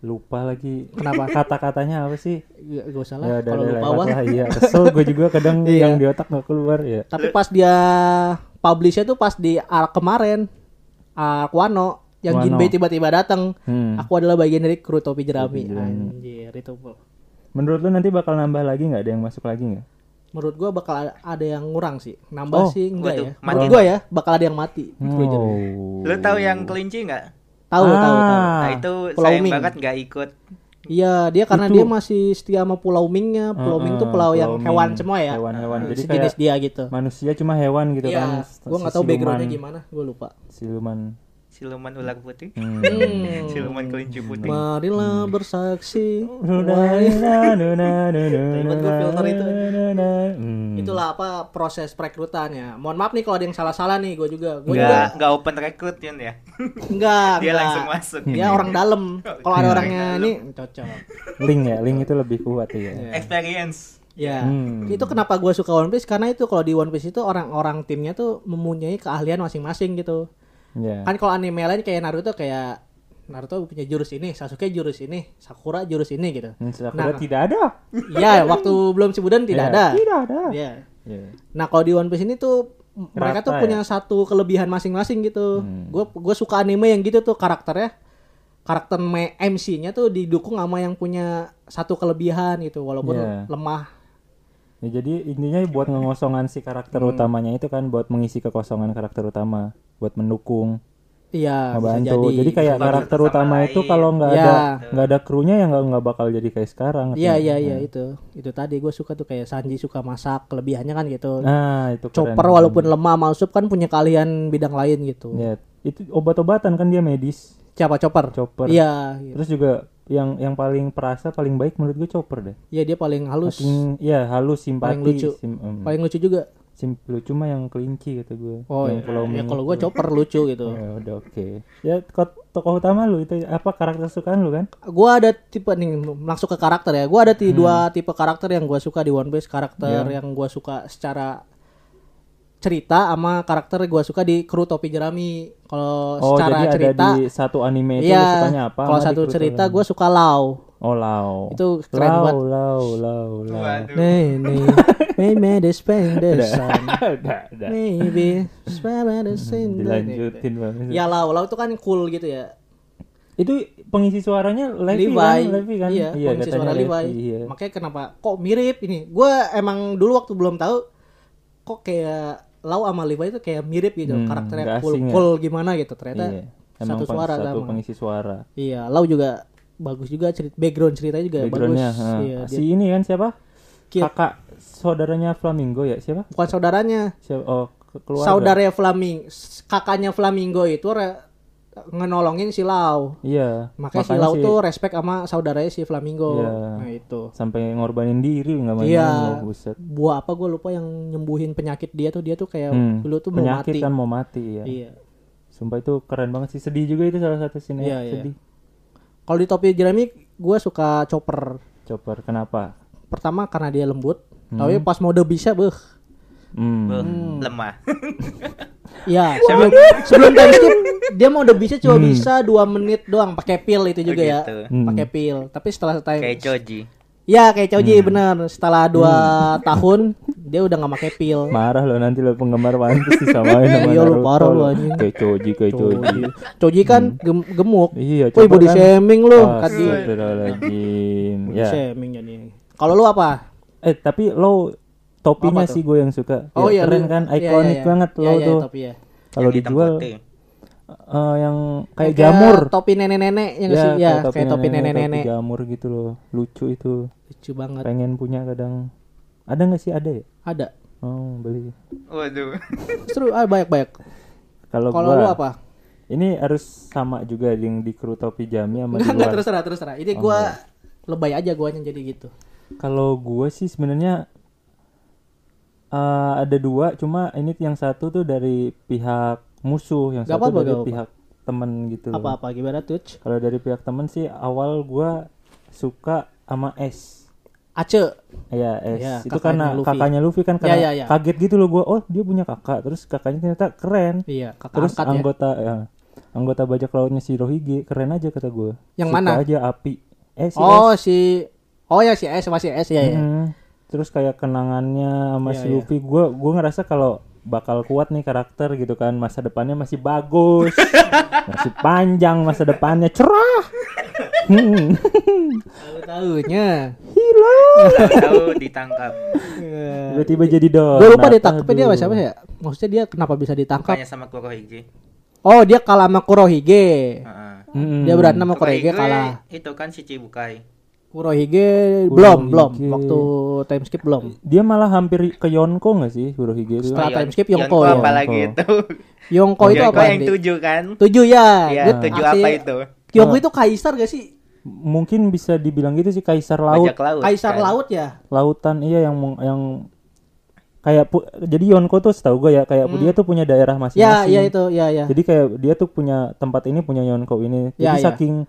Lupa lagi.
iya. Kenapa?
Kata-katanya apa sih?
Gak, gak usah lah
Ya udah
kalau
udah,
lupa
lewat
wah.
lah. Iya, kesel gue juga kadang
Iya.
yang di otak nggak keluar ya.
Tapi pas dia publishnya tuh pas di arc kemarin arc Wano yang
Wano.
Jinbei tiba-tiba datang.
Hmm.
Aku adalah bagian dari kru topi jerami.
Topi jerami.
Anjir itu. Bro.
Menurut lu nanti bakal nambah lagi nggak ada yang masuk lagi nggak?
Menurut gua bakal ada- ada yang ngurang sih.
Oh,
Nambah sih enggak
gua tuh,
ya.
mati.
Menurut gua ya bakal ada yang mati. Kru jerami.
Oh.
lu tahu yang kelinci nggak
Tahu tahu tahu.
Ah.
nah itu
Pulau
sayang
Ming.
banget nggak ikut
Iya, dia karena
Itu-
dia masih setia sama Pulau Mingnya. Pulau Ming tuh
Heeh,
pulau yang
Ming.
hewan semua ya.
Hewan-hewan. Jadi kayak
Sejenis dia gitu.
manusia cuma hewan gitu kan.
Iya, gua nggak tahu
Siluman-
backgroundnya gimana, gua lupa.
Siluman.
siluman ular putih
Hmm.
siluman kelinci putih
Hmm. Marilah bersaksi. Ribet gua filter itu.
Hmm.
Itulah apa proses perekrutannya. Mohon maaf nih kalau ada yang salah-salah nih, gue juga. Gue juga
nggak nggak open recruit Yun, ya
enggak.
dia
enggak.
langsung masuk
Dia orang dalam. Kalau
Iya.
ada orangnya ini cocok.
Link ya, link itu lebih kuat
Iya.
ya.
experience
Ya.
Hmm.
Itu kenapa gue suka One Piece karena itu kalau di One Piece itu orang-orang timnya tuh mempunyai keahlian masing-masing gitu.
Ya.
Kan kalau anime lain kayak Naruto kayak Naruto punya jurus ini, Sasuke jurus ini, Sakura jurus ini gitu.
Hmm, Sakura
Nah.
tidak ada.
Iya, waktu belum Shippuden tidak
Ya,
ada.
Tidak ada.
Iya.
Ya.
Nah kalau di One Piece ini tuh m- mereka
Rata
tuh
ya?
punya satu kelebihan masing-masing gitu.
Hmm.
Gue gue suka anime yang gitu tuh karakternya karakter me- MC-nya tuh didukung sama yang punya satu kelebihan gitu walaupun
Iya.
lemah.
Ya, jadi intinya buat ngengosongan si karakter
Hmm.
utamanya itu kan buat mengisi kekosongan karakter utama, buat mendukung,
Iya bisa
ngebantu. Jadi, kayak
Bisa
karakter
bantu
utama
sama
itu
lain.
kalau nggak
Iya.
ada nggak ada krunya ya nggak nggak bakal jadi kayak gitu. sekarang.
Iya
ngerti
iya
nggak?
iya itu itu tadi gue suka tuh kayak Sanji suka masak kelebihannya kan gitu.
Nah itu keren.
Chopper walaupun lemah sama Usopp kan punya keahlian bidang lain gitu.
Ya, itu obat-obatan kan dia medis.
Siapa Chopper?
Chopper.
Iya iya.
Terus juga yang yang paling perasa paling baik menurut gue Chopper deh.
Iya dia paling halus,
Paling- ya halus simpati,
Paling lucu.
sim- em,
paling lucu juga.
sim- lucu mah yang kelinci kata gue.
Oh
yang
iya.
pulau
ya
Ming.
kalau gue Chopper lucu gitu.
Ya udah oke. Ya kot- tokoh utama lu itu apa karakter kesukaan lu kan?
gua ada tipe nih langsung ke karakter ya gua ada ti-
Hmm.
dua tipe karakter yang gua suka di One Piece karakter
Iya.
yang gua suka secara cerita sama karakter gua suka di kru topi jerami kalau
Oh
secara
jadi
cerita
ada di satu anime itu lu sukanya
iya
apa?
kalau
sama di
satu
Kuroko
cerita
Lau?
gua suka Lau
Oh Lau.
itu keren
lau,
banget
Lau Lau Lau.
waduh
nih nih we made a spend the sun
udah udah.
maybe spend the sun Iya.
Dilanjutin banget.
ya Lau Lau itu kan cool gitu ya
Itu pengisi suaranya Levi,
Levi,
kan? Levi kan?
iya, pengisi
katanya
suara Levi.
Iya.
Makanya kenapa kok mirip ini? Gue emang dulu waktu belum tahu kok kayak Lau sama Levi itu kayak mirip gitu
Hmm,
karakternya
nggak
cool,
asing ya.
cool gimana gitu ternyata.
Iya.
satu
peng-
suara
satu
sama.
pengisi suara.
Iya, Lau juga bagus juga cerita background ceritanya juga bagus.
Backgroundnya. ha.
Iya, dia
si ini kan siapa?
Kid.
Kakak saudaranya Flamingo ya siapa?
bukan saudaranya.
Siapa? Oh ke- keluarga.
Saudaranya Flaming, kakaknya Flamingo itu re- ngenolongin si Lau.
Iya.
Makanya, si Lau tuh respect sama saudaranya si Flamingo.
Iya.
Nah, itu.
sampai ngorbanin diri nggak main.
Iya.
Buset.
Buah apa gue lupa yang nyembuhin penyakit dia tuh dia tuh kayak
Hmm,
Iya, dulu tuh mau
penyakit
mati.
kan mau mati ya.
Iya.
Sumpah itu keren banget sih sedih juga itu salah satu scene ya.
Iya, iya.
sedih.
Kalau di topi jerami gue suka chopper.
Chopper kenapa?
Pertama karena dia lembut, tapi pas mode bisa, beuh.
Hmm.
Beuh, lemah.
Iya, sebelum, sebelum time skip dia mode bisa cuma bisa 2 menit doang pakai pil itu juga ya.
Gitu.
Hmm.
Pakai pil. Tapi setelah time
Kayak Joji.
Ya kayak Choji
Hmm.
bener Setelah 2 tahun Dia udah gak pakai pil
Marah lo nanti lo penggemar One Piece disamain sama
Iya, lo
Naruto
parah lo, anjing.
Kayak Choji, kayak Choji.
Oh, Choji kan gem- gemuk
Hmm. Iya, coba
Woi body
kan.
shaming lu Kaki
Astagfirullahaladzim.
Body
ya.
shaming jadi Kalau lu apa?
Eh tapi lo topinya
Apa tuh?
sih gue yang suka.
Oh
Ya,
iya
keren
lu-
kan,
iya, iya,
ikonik
iya.
banget
Iya,
lo
iya,
tuh.
topi ya.
Kalau
Yang hitam
dijual
putih.
eh, yang kayak jamur. Iya,
Topi nenek-nenek yang sih ya kayak topi nenek-nenek gitu.
topi jamur gitu loh. Lucu itu.
Lucu banget
Pengen punya kadang. Ada nggak sih ada ya?
Ada
Oh beli.
Waduh.
Seru ah banyak-banyak
Kalau
Kalau lu
gua
apa?
ini harus sama juga yang di kru topi jami sama di
Enggak enggak
luar.
terus terang terus terang
Oh,
Ini
iya.
gua lebay aja guanya jadi gitu
Kalau gue sih sebenarnya eh, ada dua, cuma ini yang satu tuh dari pihak musuh, yang
Gak
satu
apa-apa,
dari
gak apa-apa.
pihak temen gitu. loh.
Apa-apa gimana Tuch?
Kalau dari pihak temen sih awal gue suka sama S.
Ace
Ya, S.
Ya,
itu
kakaknya
karena
Luffy.
kakaknya Luffy kan karena
Ya, ya, ya.
kaget gitu loh gue. Oh, dia punya kakak. Terus kakaknya ternyata keren.
Iya kakak
Terus
angkat ya
anggota ya, anggota bajak lautnya si Rohige keren aja kata gue.
Yang mana?
aja api. Eh, si S.
Oh si Oh ya si S masih S ya ya
Mm. Terus kayak kenangannya sama
Iya,
si
iya.
Luffy, gue gue ngerasa kalau bakal kuat nih karakter gitu kan, masa depannya masih bagus, masih panjang masa depannya cerah. Hmm.
Tahu tahunya.
Tahu-tahu ditangkap.
Tiba-tiba jadi dong.
Gue Iya. lupa ditangkapnya dia sama siapa ya? Maksudnya dia kenapa bisa ditangkap?
Bukannya sama Kurohige.
Oh dia kalah sama Kurohige.
Heeh.
Dia berantem sama Kurohige kalah.
Itu kan si Cibukai.
Kurohige
Kurohige.
belum belum. Waktu time skip belum.
Dia malah hampir ke Yonko gak sih Kurohige itu?
Setelah
Yon-
time skip Yonko ya.
apalagi
Yonko.
itu.
Yonko itu apa?
yang
Andi?
tujuh kan?
Tujuh ya.
Iya,
Gua-
tujuh
aksi-
apa itu?
Yonko itu kaisar gak sih?
Mungkin bisa dibilang gitu sih kaisar laut,
Bajak laut.
Kaisar
kan?
laut ya.
lautan iya yang meng- yang kayak pu- jadi Yonko tuh setahu gue ya kayak dia tuh punya daerah
Ya
masing-masing.
Hmm. ya itu ya ya.
Jadi kayak dia tuh punya tempat ini punya Yonko ini. Jadi
Ya, ya.
saking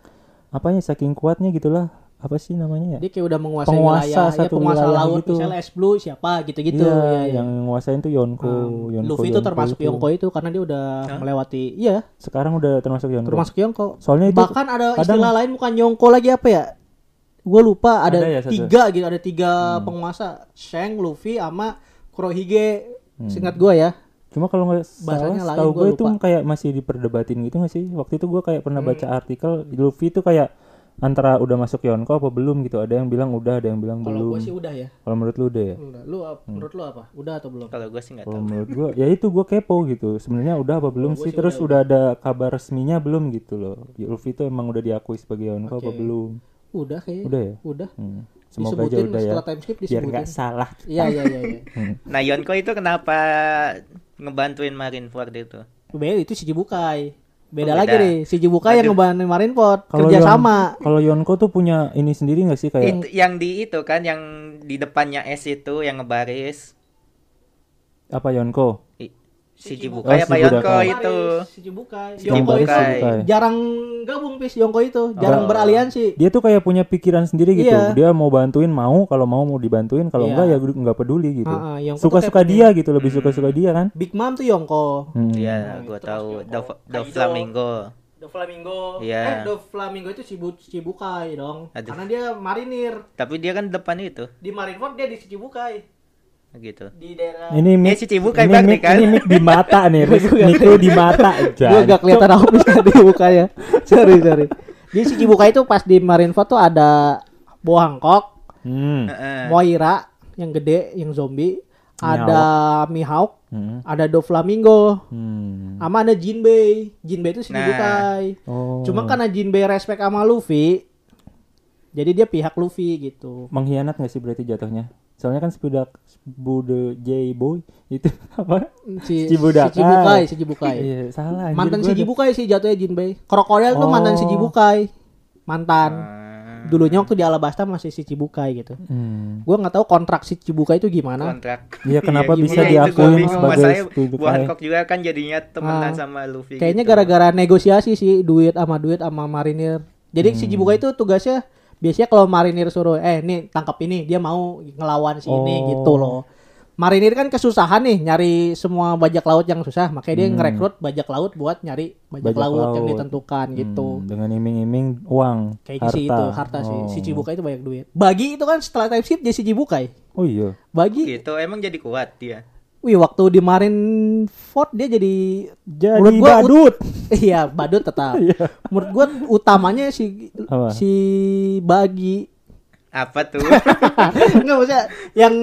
apanya saking kuatnya gitulah. Apa sih namanya ya?
Dia kayak udah menguasai
Penguasa
wilayah, ya,
satu
penguasa
wilayah
laut,
gitu.
misalnya es blue siapa gitu-gitu.
Iya,
Ya, ya.
yang nguasain tuh Yonko, Yonko.
Luffy itu
Yonko
termasuk
itu.
Yonko itu karena dia udah melewati iya
Sekarang udah termasuk Yonko.
termasuk Yonko
Soalnya itu
bahkan ada
kadang-
istilah lain bukan Yonko lagi apa ya gue lupa
Ada
ada,
ya, satu? Hmm.
tiga gitu ada tiga penguasa Shang Luffy sama Kurohige
Hmm.
singkat gue ya
Cuma kalau nggak salah,
Bahasanya lain,
setahu
gua
gue itu
lupa. Hmm.
kayak masih diperdebatin gitu nggak sih? Waktu itu gue kayak pernah baca artikel Luffy itu kayak antara udah masuk Yonko apa belum gitu. Ada yang bilang udah, ada yang bilang belum.
kalau gue sih udah ya
Kalau menurut lu udah ya?
Udah. lu ap- menurut lu apa udah atau belum
Kalau gue sih nggak
Kalau
tahu.
menurut gue, ya itu gue kepo gitu. Sebenarnya udah apa belum sih? Terus udah, ada kabar resminya belum gitu loh. Luffy itu emang udah diakui sebagai Yonko apa
Oke.
belum?
udah kayaknya
Udah ya?
udah
Hmm. Semoga aja
disebutin
udah ya.
setelah time skip
Biar
disebutin
nggak salah.
iya iya iya iya.
Nah Yonko itu kenapa ngebantuin Marineford itu?
beda itu si Jibukai beda
Oh,
lagi
beda.
nih si Jibukai yang ngebantuin Marineford
Kalau
kerja
Yon-
sama
Kalau Yonko tuh punya ini sendiri nggak
Oh,
sih
iya.
kayak?
Itu yang di itu kan yang di depannya S itu yang ngebaris
apa Yonko?
I- si Jibukai
Oh,
apa
si
Yonko
Budakai.
itu?
si Jibukai
Yang
Yonko
baris
itu
Jibukai.
Shibukai.
jarang gabung pis Yongko itu jarang
Oh.
beraliansi
Dia tuh kayak punya pikiran sendiri gitu.
Iya.
Dia mau bantuin mau, kalau mau mau dibantuin, kalau
Iya.
enggak ya nggak peduli gitu.
Ah, ah, Yonko tuh
Suka-suka
kayak Hmm.
dia gitu, lebih suka-suka dia kan?
Big Mom tuh Yongko
Hmm.
Iya, gue tahu. The, the Flamingo.
The Flamingo
Iya.
eh The Flamingo itu Cibu Cibukai dong
Aduh.
karena dia marinir
Tapi dia kan depan itu,
di Marineford dia di Cibukai
gitu.
di daerah
Ini
Ya,
mic,
si Cibukai
ini
berarti
mic,
kan?
ini mic di mata nih, Riz. Mic lu di mata.
gue gak kelihatan apa tadi mukanya sorry sorry Jadi si Cibuka itu pas di Marineford tuh ada Bo Hancock,
Hmm.
Heeh.
Moira yang gede, yang zombie, ada Mihawk,
Hmm.
ada Doflamingo,
Hmm.
sama ada Jinbei. Jinbei itu si
Nah.
Cibukai.
Oh.
Cuma kan karena Jinbei respect sama Luffy, jadi dia pihak Luffy gitu.
Oh. mengkhianat nggak sih berarti jatuhnya? Soalnya kan sebudak Bude J Boy itu apa?
Si,
Cibudak.
si Cibukai,
Ah.
si Cibukai.
Iya, salah. anjir,
mantan
gua
si
ada-
Jibukai sih jatuhnya Jinbei. Krokodil tuh
Oh.
mantan si Jibukai. Mantan.
Ah.
Dulunya waktu di Alabasta masih si Cibukai gitu.
Hmm.
Gua nggak tahu kontrak si Cibukai itu gimana.
kontrak.
Iya, kenapa
gimana
bisa
itu
diakuin
gua bingung.
sebagai
Masalahnya
Steve
Buah
Kai?
Hancock juga kan jadinya temenan
Ah.
sama Luffy.
Kayaknya
gitu.
gara-gara negosiasi sih duit sama duit sama marinir. Jadi
Hmm.
si Jibukai itu tugasnya biasanya kalau marinir suruh eh nih tangkap ini dia mau ngelawan si
Oh.
ini gitu loh. Marinir kan kesusahan nih nyari semua bajak laut yang susah, makanya dia
Hmm.
ngerekrut bajak laut buat nyari
Bajak
bajak, laut, yang
laut.
ditentukan gitu.
Hmm, dengan iming-iming uang,
Kayaknya
harta.
sih itu harta sih. Si
Oh.
Cibukai itu banyak duit. Bagi itu kan setelah time skip dia si Cibukai.
Oh iya.
Bagi,
gitu emang jadi kuat dia.
wih waktu di Marineford dia jadi
Jadi
Menurut gua ut-
badut.
iya badut tetap.
Iya.
Menurut gua utamanya si
Apa?
si Bagi.
Apa tuh?
Enggak maksudnya yang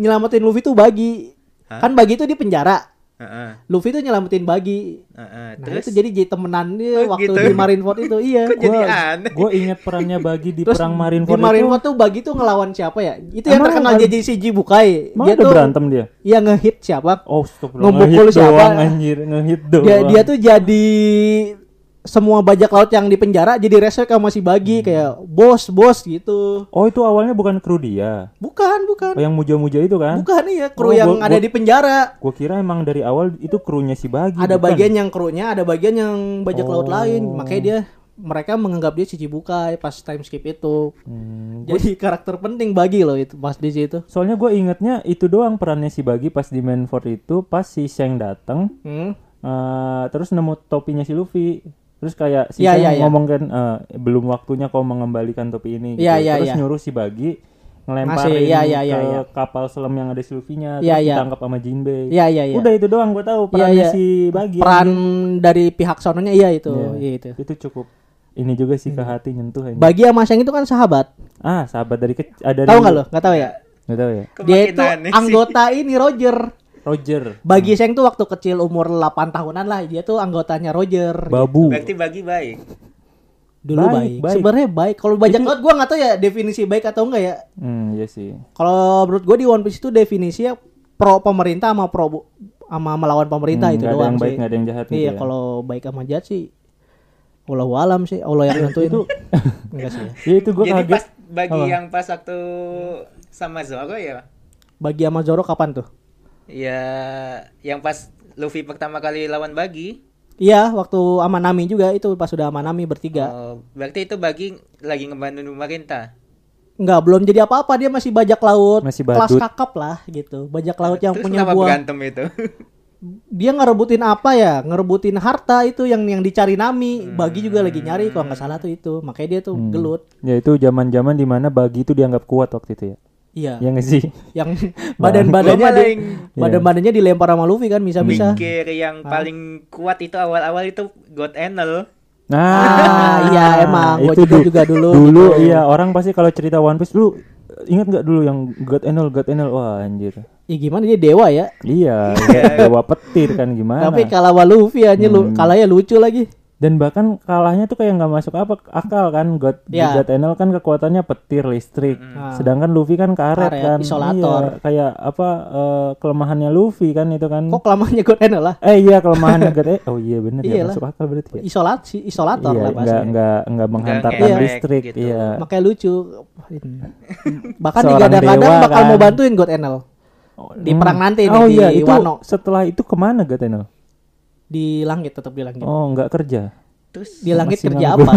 nyelamatin Luffy tuh Bagi.
Hah?
Kan Bagi itu di penjara.
Heeh,
Luffy tuh nyelamatin Bagi.
heeh.
Nah,
Terus
itu jadi jadi temenan dia
Oh,
waktu
gitu.
di Marineford itu iya.
Kok jadi
Gua-
aneh?
Gue ingat perannya bagi di
Terus
perang
di
Marineford itu.
Marineford tuh Bagi tuh ngelawan siapa ya? Itu yang
Emang
terkenal
Marin-
jadi si Jibukai.
Emang ada berantem dia?
Iya ngehit siapa?
Oh, stop dong.
Ngebukul
Ngehit
siapa?
doang anjir, ngehit doang.
Dia dia tuh jadi semua bajak laut yang di penjara jadi respect sama si
Hmm.
Bagi kayak bos bos gitu.
Oh, itu awalnya bukan kru dia.
Bukan bukan
Oh, yang muja-muja itu kan?
bukan iya
Oh,
kru yang
gua-
ada
gua-
di penjara.
Gue kira emang dari awal itu krunya si Bagi.
Ada
bukan?
bagian yang krunya, ada bagian yang bajak
Oh.
laut lain. Makanya dia mereka menganggap dia cici bukai pas time skip itu.
Hmm.
Jadi karakter penting Bagi loh itu pas di situ.
Soalnya gue ingetnya itu doang perannya si Bagi pas di Manfort itu pas si Sheng datang
Hmm.
eh, terus nemu topinya si Luffy. Terus kayak si
Iya,
Sheng
iya, iya.
ngomong kan eh, belum waktunya kau mengembalikan topi ini gitu.
Iya, iya,
terus
iya.
nyuruh si Bagi ngelemparin
Ngasih, iya, iya, iya,
ke
iya.
kapal selam yang ada si Luffy-nya terus
Iya, iya.
ditangkap sama Jinbei.
Iya iya iya.
Udah itu doang gue tahu perannya
Iya, iya.
si Bagi.
Peran dari pihak sononya iya itu.
Iya.
Iya itu.
Itu cukup ini juga sih
Iya.
ke hati nyentuh aja.
Bagi sama Shang itu kan sahabat.
Ah, sahabat dari kecil ada
Tahu nggak lo? Nggak tahu ya.
Enggak tahu ya.
Kok
Dia
makin
itu
aneh sih?
anggota ini Roger.
Roger.
Bagi Shang tuh waktu kecil umur 8 tahunan lah dia tuh anggotanya Roger.
Babu.
Berarti bagi baik.
Dulu
Baik,
baik.
baik.
Sebenarnya baik. Kalau bajak laut gua nggak tahu ya definisi baik atau enggak ya.
Hmm, iya sih.
Kalau menurut gua di One Piece itu definisinya pro pemerintah sama pro bu- sama melawan pemerintah
Hmm,
itu
nggak ada
doang
yang baik,
sih.
nggak ada yang jahat gitu
Iya,
ya.
kalau baik sama jahat sih Allah alam sih, Allah yang nentuin itu. Enggak sih. ya.
Ya itu gue
Jadi
kaget.
pas bagi
Apa?
yang pas waktu sama Zoro ya.
Bagi sama Zoro kapan tuh?
Ya yang pas Luffy pertama kali lawan bagi.
Iya, waktu sama Nami juga itu pas sudah sama Nami bertiga.
Oh, berarti itu bagi lagi ngebantu pemerintah.
Enggak, belum jadi apa-apa, dia masih bajak laut,
Masih
kelas
badut.
kakap lah gitu. Bajak laut yang
Terus
punya
kenapa
buah.
berantem itu?
Dia ngerebutin apa ya? Ngerebutin harta itu yang yang dicari Nami.
Hmm.
Bagi juga lagi nyari kalau nggak salah tuh itu. Makanya dia tuh gelut.
Ya itu zaman-zaman dimana bagi itu dianggap kuat waktu itu ya.
Iya.
Ya nggak sih?
Yang badan-badannya
Gua malah
di-
yang-
badan-badannya dilempar sama Luffy kan bisa-bisa.
Mikir yang paling kuat itu awal-awal itu God Enel.
Ah, iya, emang. Gua juga-
du-
juga dulu
Nah, Dulu
gitu.
iya orang pasti kalau cerita One Piece lu ingat nggak dulu yang God Enel, God Enel, wah anjir.
Ya gimana dia dewa ya?
Iya, dewa petir kan gimana?
Tapi kalah sama Luffy aja
Hmm.
lu kalahnya lucu lagi.
Dan bahkan kalahnya tuh kayak nggak masuk apa akal kan God
Ya.
God Enel kan kekuatannya petir listrik,
Ah.
sedangkan Luffy kan karet,
Karet,
kan,
isolator.
Iya, kayak apa eh, kelemahannya Luffy kan itu kan?
Kok kelamannya God Enel lah?
Eh iya kelemahannya God Enel, oh iya bener ya
Iyalah.
masuk akal berarti ya.
Isolasi, isolator
iya,
lah
nggak
bahasanya.
nggak nggak menghantarkan
ngewek
listrik,
gitu.
iya.
makanya lucu bahkan
Seorang
digadang-gadang
dewa,
bakal mau
kan.
bantuin God Enel di perang nanti nih,
oh,
di
iya, itu
Wano.
Setelah itu kemana God Enel?
di langit tetap di langit
Oh nggak kerja.
Terus
di langit
masih
kerja
nganggur.
apa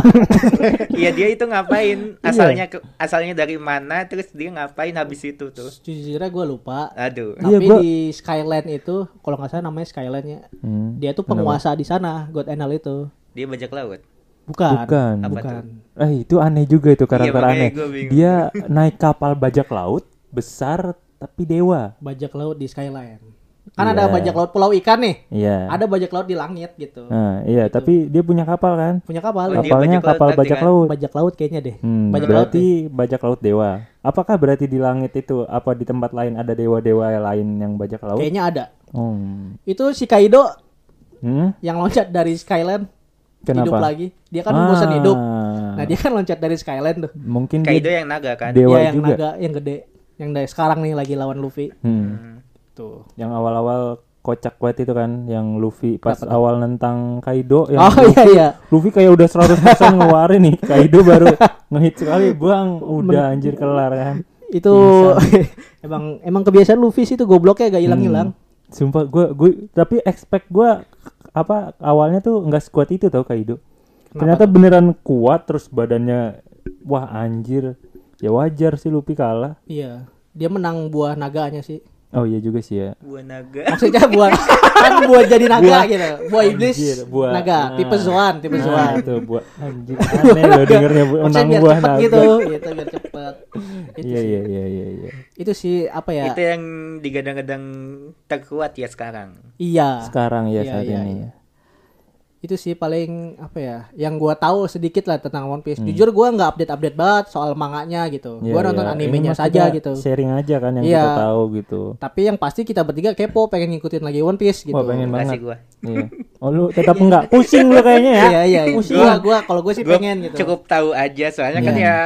Iya dia itu ngapain? Asalnya ke- asalnya dari mana? Terus dia ngapain habis itu tuh?
jujurnya gue lupa
Aduh.
Iya,
tapi
gua-
di Skyland itu kalau nggak salah namanya Skyland ya
Hmm.
dia tuh penguasa di sana God Enel itu
Dia bajak laut.
bukan
Bukan.
Apa
bukan.
Eh itu aneh juga itu karakter
Iya, makanya
aneh.
gua bingung.
Dia naik kapal bajak laut besar tapi dewa.
bajak laut di Skyland Kan ada
Iya.
bajak laut pulau ikan nih.
Iya.
Ada bajak laut di langit gitu.
Nah, iya,
Gitu.
tapi dia punya kapal kan?
Punya kapal.
Oh, dia
Kapalnya
bajak laut
kapal
berarti
bajak
kan?
laut.
Bajak laut kayaknya deh.
Hmm,
Bajak laut ya?
berarti bajak laut dewa. Apakah berarti di langit itu apa di tempat lain ada dewa-dewa lain yang bajak laut?
Kayaknya ada.
Hmm.
Itu si Kaido
Hmm?
yang loncat dari Skyland
Kenapa?
hidup lagi. Dia kan
Ah,
bosan hidup. Nah, dia kan loncat dari Skyland tuh.
mungkin
Kaido
dia
yang naga kan?
dewa
Dia Iya, yang
juga.
naga yang gede yang dari sekarang nih lagi lawan Luffy.
Hmm.
Tuh.
Yang awal-awal kocak banget itu kan yang Luffy pas awal nentang Kaido yang
Oh iya iya.
Luffy kayak udah 100% ngeluarin nih Kaido baru ngehit sekali Bang udah anjir kelar kan
Itu emang emang kebiasaan Luffy sih itu gobloknya gak hilang-hilang.
Hmm. Sumpah gue gue tapi expect gue apa awalnya tuh nggak sekuat itu tau Kaido. Ternyata beneran kuat terus badannya wah anjir. Ya wajar sih Luffy kalah.
Iya. Dia menang buah naganya sih.
Oh iya juga sih ya.
Buah naga.
Maksudnya buah kan buah jadi naga gitu. Buah iblis
Anjir, buah-
naga,
nah.
tipe zoan, tipe zoan.
Nah, itu buah anjir aneh lo dengernya bu- menang
Maksudnya biar
buah
cepet
naga.
gitu, gitu biar cepet. Itu
Iya
sih.
iya iya iya iya.
Itu sih apa ya?
Itu yang digadang-gadang terkuat ya sekarang.
Iya.
Sekarang ya
Iya,
saat
iya,
ini.
iya. Itu sih paling apa ya? Yang gua tahu sedikit lah tentang One Piece. Jujur gua nggak update-update banget soal manganya gitu.
Hmm. Iya,
gua nonton
iya. Ini
animenya
mah
saja
kita
gitu.
Sharing aja kan yang
Iya.
kita tahu gitu.
Tapi yang pasti kita bertiga kepo pengen ngikutin lagi One Piece gitu.
Wah Oh, pengen
Kasih
banget.
gua.
Iya. Oh lu tetap enggak pusing lu kayaknya ya.
Iya iya. iya.
Pusing.
Gua gua kalau gua sih
Gua
pengen gitu.
Cukup tahu aja soalnya kan
Iya.
ya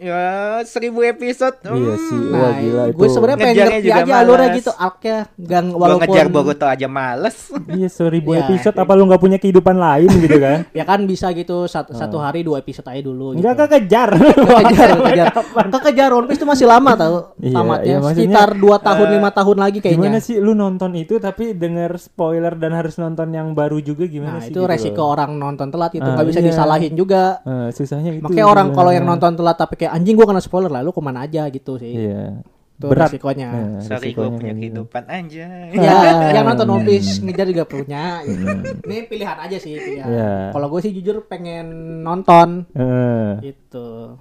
ya seribu episode.
Iya
hmm.
sih. Wah
Nah,
gila itu.
gue sebenarnya pengen
Ngejarnya
ngerti
juga
aja alurnya
malas.
gitu, arc-nya. Gang
Gua
walaupun
ngejar Boruto aja males.
Iya seribu
Ya.
episode apa lu nggak punya kehidupan lain gitu kan?
ya kan bisa gitu satu, satu hari dua episode aja dulu gitu.
Ah. Enggak kan. kekejar.
kekejar, kekejar. Kekejar One Piece itu masih lama tau
Iya,
tamatnya.
iya, maksudnya,
Sekitar
Eh,
2 tahun, lima tahun lagi
Gimana
kayaknya.
sih lu nonton itu tapi denger spoiler dan harus nonton yang baru juga gimana sih?
Nah,
gitu
itu resiko
loh.
orang nonton telat gitu,
Ah,
nggak bisa
iya.
disalahin juga.
Eh, susahnya itu.
Makanya orang kalau yang
sebenarnya.
nonton telat tapi kayak anjing gua kena spoiler lah, lu kemana aja gitu sih.
Iya.
Itu
Berat.
resikonya.
Nah,
Sorry
resikonya
gua punya
kayak gitu.
kehidupan anjay.
Ya, yang nonton One
Iya,
Piece ngejar juga punya. Gitu. Ini pilihan aja sih. pilihan.
Iya.
Kalau gue sih jujur pengen nonton
Eh,
gitu.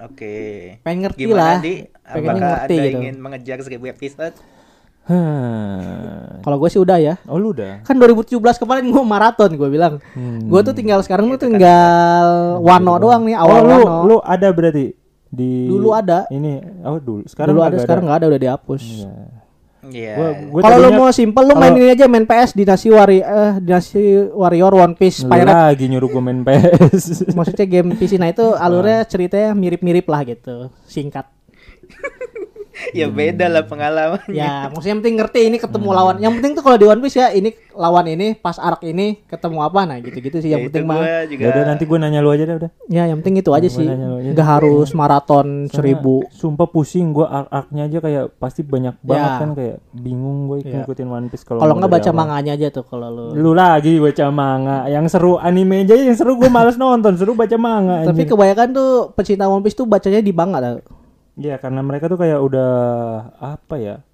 Oke.
Pengen ngerti lah.
Gimana Di?
Pengennya
Apakah
ngerti
ada
gitu.
ingin mengejar seribu episode?
hah.
Kalau gue sih udah ya.
Hmm. Oh lu udah.
Kan 2017 kemarin gue maraton gue bilang.
Hmm.
Gue tuh tinggal sekarang tuh tinggal Wano doang nih
oh,
awal
lu
Wano.
lu ada berarti di
Dulu ada.
Ini oh dulu. Sekarang
Dulu
nggak
ada sekarang nggak ada udah dihapus.
Iya.
Gua, gua
Kalau lu
tadinya-
mau simple lu main
kalau-
ini aja main PS Dinasti Wari eh Dinasti Warrior One
Lu
Piece Pirate.
lagi nyuruh gue main PS.
Maksudnya game PC nah itu alurnya ceritanya mirip-mirip lah gitu, singkat.
Ya beda lah pengalamannya.
Ya, maksudnya yang penting ngerti ini ketemu
Hmm.
lawan. Yang penting tuh kalau di One Piece ya ini lawan ini pas arc ini ketemu apa nah gitu-gitu sih
Ya,
yang
itu
penting mah.
gua juga.
Ya udah nanti gue nanya lu aja deh udah.
Ya, yang Iya. penting itu aja sih.
nanya lu aja.
Nggak harus maraton seribu.
Sumpah pusing gue arc-arcnya aja kayak pasti banyak banget
Ya.
kan kayak bingung gue
Ya.
ngikutin One Piece kalau mau
Kalau nggak
dari
baca
awal.
manganya aja tuh kalau lu.
Lu lagi baca manga, yang seru anime aja yang seru gue males nonton, seru baca manga.
Tapi
anjing.
kebanyakan tuh pecinta One Piece tuh bacanya di manga tau.
Iya karena mereka tuh kayak udah apa ya?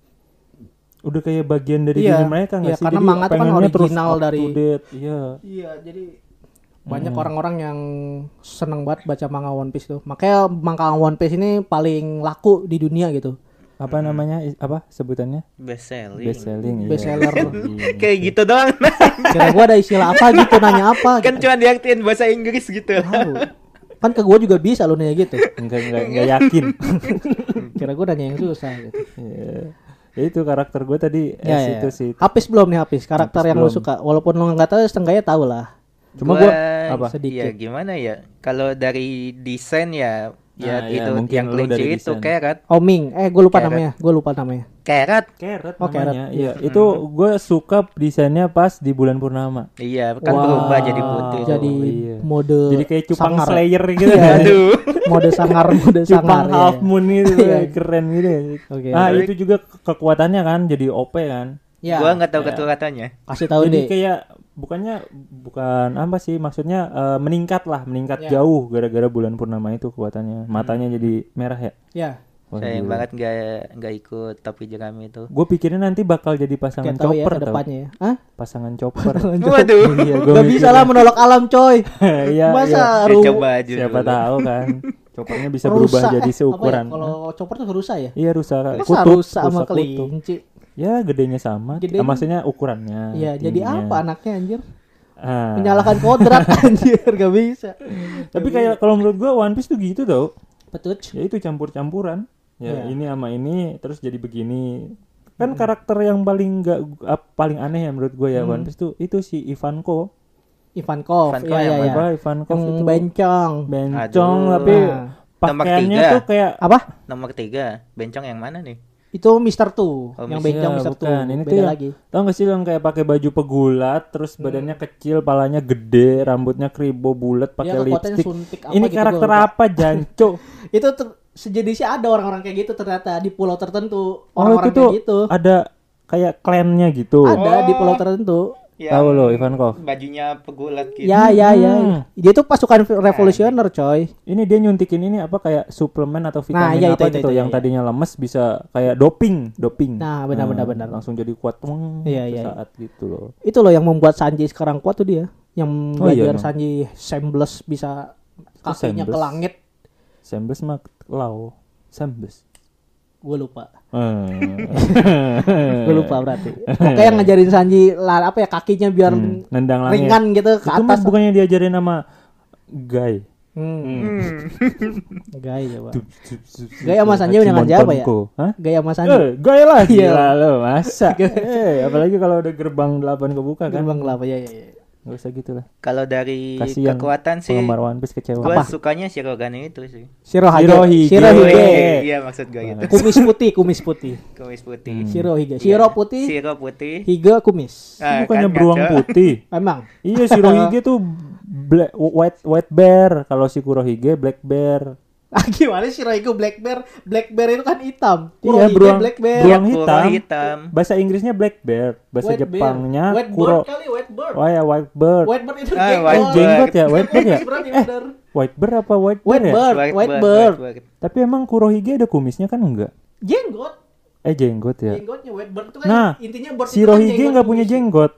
Udah kayak bagian dari diri
Iya.
mereka nggak
Iya,
sih?
karena
Jadi
manga tuh kan
pengennya terus
original
up to
dari-
date. Iya.
Iya, jadi banyak orang-orang yang seneng banget baca manga One Piece tuh. Makanya manga One Piece ini paling laku di dunia gitu.
Apa namanya? Is- Apa sebutannya? iya.
Best selling.
Best selling.
Best seller.
Kayak gitu doang.
Kira gua ada istilah apa gitu nanya apa
kan
gitu.
cuma diartiin bahasa Inggris gitu.
Tahu. Kan ke gua juga bisa lu nanya gitu.
Enggak enggak enggak yakin.
Hmm. Kira gua nanya yang susah gitu.
Iya. Ya itu karakter gue tadi
Ya,
S
ya.
itu sih.
Habis belum nih habis karakter yang lu suka. Walaupun lu nggak tahu setengahnya tahu lah.
Cuma gue apa?
Sedikit.
Ya gimana ya? Kalau dari desain ya ya
Ah, ya,
itu
mungkin
yang
lu
kelinci
dari
itu
desain.
kerat.
Oming, eh gue
Iya,
lupa
Keret.
namanya,
kan?
gue lupa namanya.
Kerat.
Carrot
Oh,
namanya. Iya, itu gue suka desainnya pas di bulan purnama.
Iya, kan
Wah,
berubah jadi putih.
Jadi
iya.
mode
Jadi kayak cupang
sangar. Iya.
slayer gitu ya.
Aduh.
Mode sangar, mode sangar.
Cupang
iya.
half moon gitu
Iya.
keren gitu. ya.
Oke.
Ah,
Tapi-
itu juga ke- kekuatannya kan jadi OP kan.
Ya,
Gua nggak tahu keturutannya.
kasih tahu
jadi
deh.
kayak bukannya bukan apa sih maksudnya eh, meningkat lah, meningkat
Iya.
jauh gara-gara bulan purnama itu kekuatannya.
Hmm.
Matanya jadi merah ya.
Ya,
Sayang banget nggak nggak ikut topi jerami itu.
Gue pikirin nanti bakal jadi pasangan
nggak tahu ya
chopper
ke
tau.
depannya ya. Hah?
Pasangan chopper.
Waduh.
Iya, gua
Gak bisa
mikir.
lah menolak alam coy.
Iya, iya.
Masa
Ya,
ru-
coba aja
Siapa
dulu.
tahu kan. Coppernya bisa berubah
rusa, eh,
jadi
apa ya,
seukuran.
Kalau chopper tuh rusa ya?
Iya rusa
Masa
kutub,
rusa sama
rusa kutub.
kelinci?
Ya gedenya sama,
Gedenya-
Ah, maksudnya ukurannya.
Iya, jadi
tingginya.
apa anaknya anjir?
Ah.
Menyalakan kodrat anjir, gak bisa.
Tapi kayak kalau menurut gua One Piece tuh gitu tau.
Petuj.
Ya itu campur-campuran. Ya
Gitu. Iya.
ini sama ini terus jadi begini. Kan karakter yang paling nggak ah, paling aneh ya menurut gua ya
Hmm.
One Piece tuh itu si Ivanko.
Ivankov.
Ivankov
Iya,
yang
iya, iya.
Apa Ivankov
Yang
itu
bencong.
bencong
Aduh.
tapi
Nah.
pakaiannya
Nomor tiga.
tuh kayak
Apa?
Nomor tiga, bencong yang mana nih?
Itu Mister Two.
Oh,
yang
Mr.
bencong
Iya,
Mister Two.
bukan. Ini tuh
Beda
yang-
lagi. Hmm.
Tau gak sih lo yang kayak pakai baju pegulat, terus badannya kecil, palanya gede, rambutnya kribo bulat, pakai
Iya, kekuatannya
lipstick.
suntik apa
Ini
gitu,
karakter
gua lupa.
apa, Janco?
Itu ter- sejenisnya ada orang-orang kayak gitu ternyata di pulau
Oh,
tertentu.
itu
Orang-orang
tuh
kayak gitu.
ada kayak klannya gitu.
Ada di pulau tertentu.
Iya.
Tahu lo, Ivankov.
Ya, Bajunya pegulat gitu.
Ya, ya, ya.
Hmm.
Dia tuh pasukan revolusioner, coy.
Ini dia nyuntikin ini apa kayak suplemen atau vitamin
iya,
apa
itu, itu,
gitu
itu,
yang
iya.
tadinya lemes bisa kayak doping, doping.
Nah, benar, benar, benar.
Langsung jadi kuat weng,
Iya, iya,
sesaat gitu loh.
Itu loh yang membuat Sanji sekarang kuat tuh dia. Yang
Oh, iya, emang.
belajar Sanji Sembles bisa
Kok
kakinya ke
Sembles?
langit.
Sembes mah lau. Sembes.
Gue lupa.
Eh.
Gue lupa berarti. Pokoknya yang ngajarin Sanji lah apa ya kakinya biar
Hmm, nendang langit.
ringan gitu ke
Itu mah
atas.
bukannya diajarin sama guy.
Hmm. Gaya coba.
Gaya
Gaya Mas Anjay udah ngajar apa ya? Gaya Mas Sanji.
Eh, gaya lah
Iya.
gila lo masa. eh, apalagi kalau udah gerbang 8 kebuka kan.
Gerbang kelapa ya ya. ya.
Gak usah gitu lah.
Kalau dari
Kasihan
kekuatan sih,
Penggemar One Piece kecewa.
gue sukanya Shirogane itu sih.
Shirohige.
Shirohige.
Shirohige.
Oke.
Iya maksud gue gitu.
Kumis putih, kumis putih.
Kumis putih.
Shirohige.
Iya.
Shiro putih,
Shiro putih.
Hige kumis.
Itu
Ah,
bukannya
kan,
beruang
ngaco.
putih.
Emang
iya, Shirohige tuh black, white white bear. Kalau si Kurohige black bear.
Ah, gimana Shirohige black bear? Black bear itu kan hitam.
Iya,
Kurohige
beruang
black bear.
beruang
Iya,
hitam.
beruang hitam.
Bahasa Inggrisnya black bear, bahasa
White bear.
Jepangnya
white
kuro.
bird kali, white bird.
Oh ya, white bird.
White bird itu
Ah,
jenggot.
Eh,
white
jenggot
bird.
ya, white bird ya.
Berarti
eh,
bener.
white bird apa white bear
White
ya?
bird,
White
white
bird,
bird.
white bird.
Tapi emang Kurohige ada kumisnya kan enggak?
Jenggot.
Eh jenggot ya.
Jenggotnya white bird itu kan
Nah,
intinya bird itu kan
Shirohige
jenggot
nggak punya
kumis.
jenggot.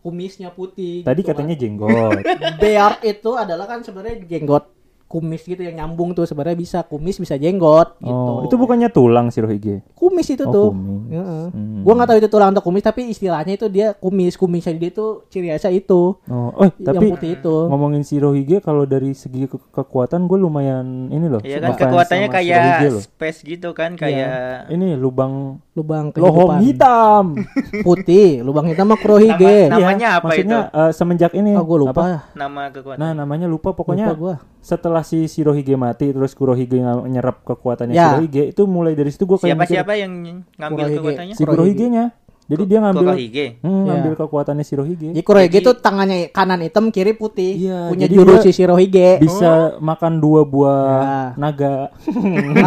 Kumisnya putih.
Tadi
gitu,
katanya jenggot.
beard itu adalah kan sebenarnya jenggot kumis gitu yang nyambung tuh sebenarnya bisa kumis bisa jenggot gitu.
Oh, itu bukannya tulang Shirohige.
kumis itu
Oh,
tuh.
kumis.
Heeh.
Hmm.
Gua nggak tahu itu tulang atau kumis tapi istilahnya itu dia kumis kumisnya dia tuh ciri khasnya itu
Oh, eh, tapi
yang putih itu.
ngomongin Shirohige kalau dari segi ke- kekuatan gue lumayan ini loh.
Iya kan
ngefans
kekuatannya
sama Iya.
kayak
Shirohige loh.
space gitu kan kayak
Ini lubang
Lubang
lohong
kehidupan.
hitam.
putih, lubang hitam mah
Nama-
kurohige.
nama- Namanya
Iya,
apa
maksudnya, eh, semenjak ini
Oh, gua lupa.
apa?
nama kekuatan.
Nah, namanya lupa pokoknya.
Lupa gua.
Setelah si Shirohige mati terus Kurohige nga- nyerap kekuatannya
Ya.
Shirohige itu mulai dari situ gue kayak
siapa
mikir,
siapa yang ngambil
Kurohige.
kekuatannya?
si Kurohige-nya. Jadi dia ngambil
Kurohige.
Hmm,
Ya.
ngambil kekuatannya Shirohige.
Jadi kurohige
Jadi-
tuh tangannya kanan hitam, kiri putih.
Iya,
Punya
jadi
jurus
dia-
si Shirohige.
Bisa makan dua buah
Oh. Ya.
naga.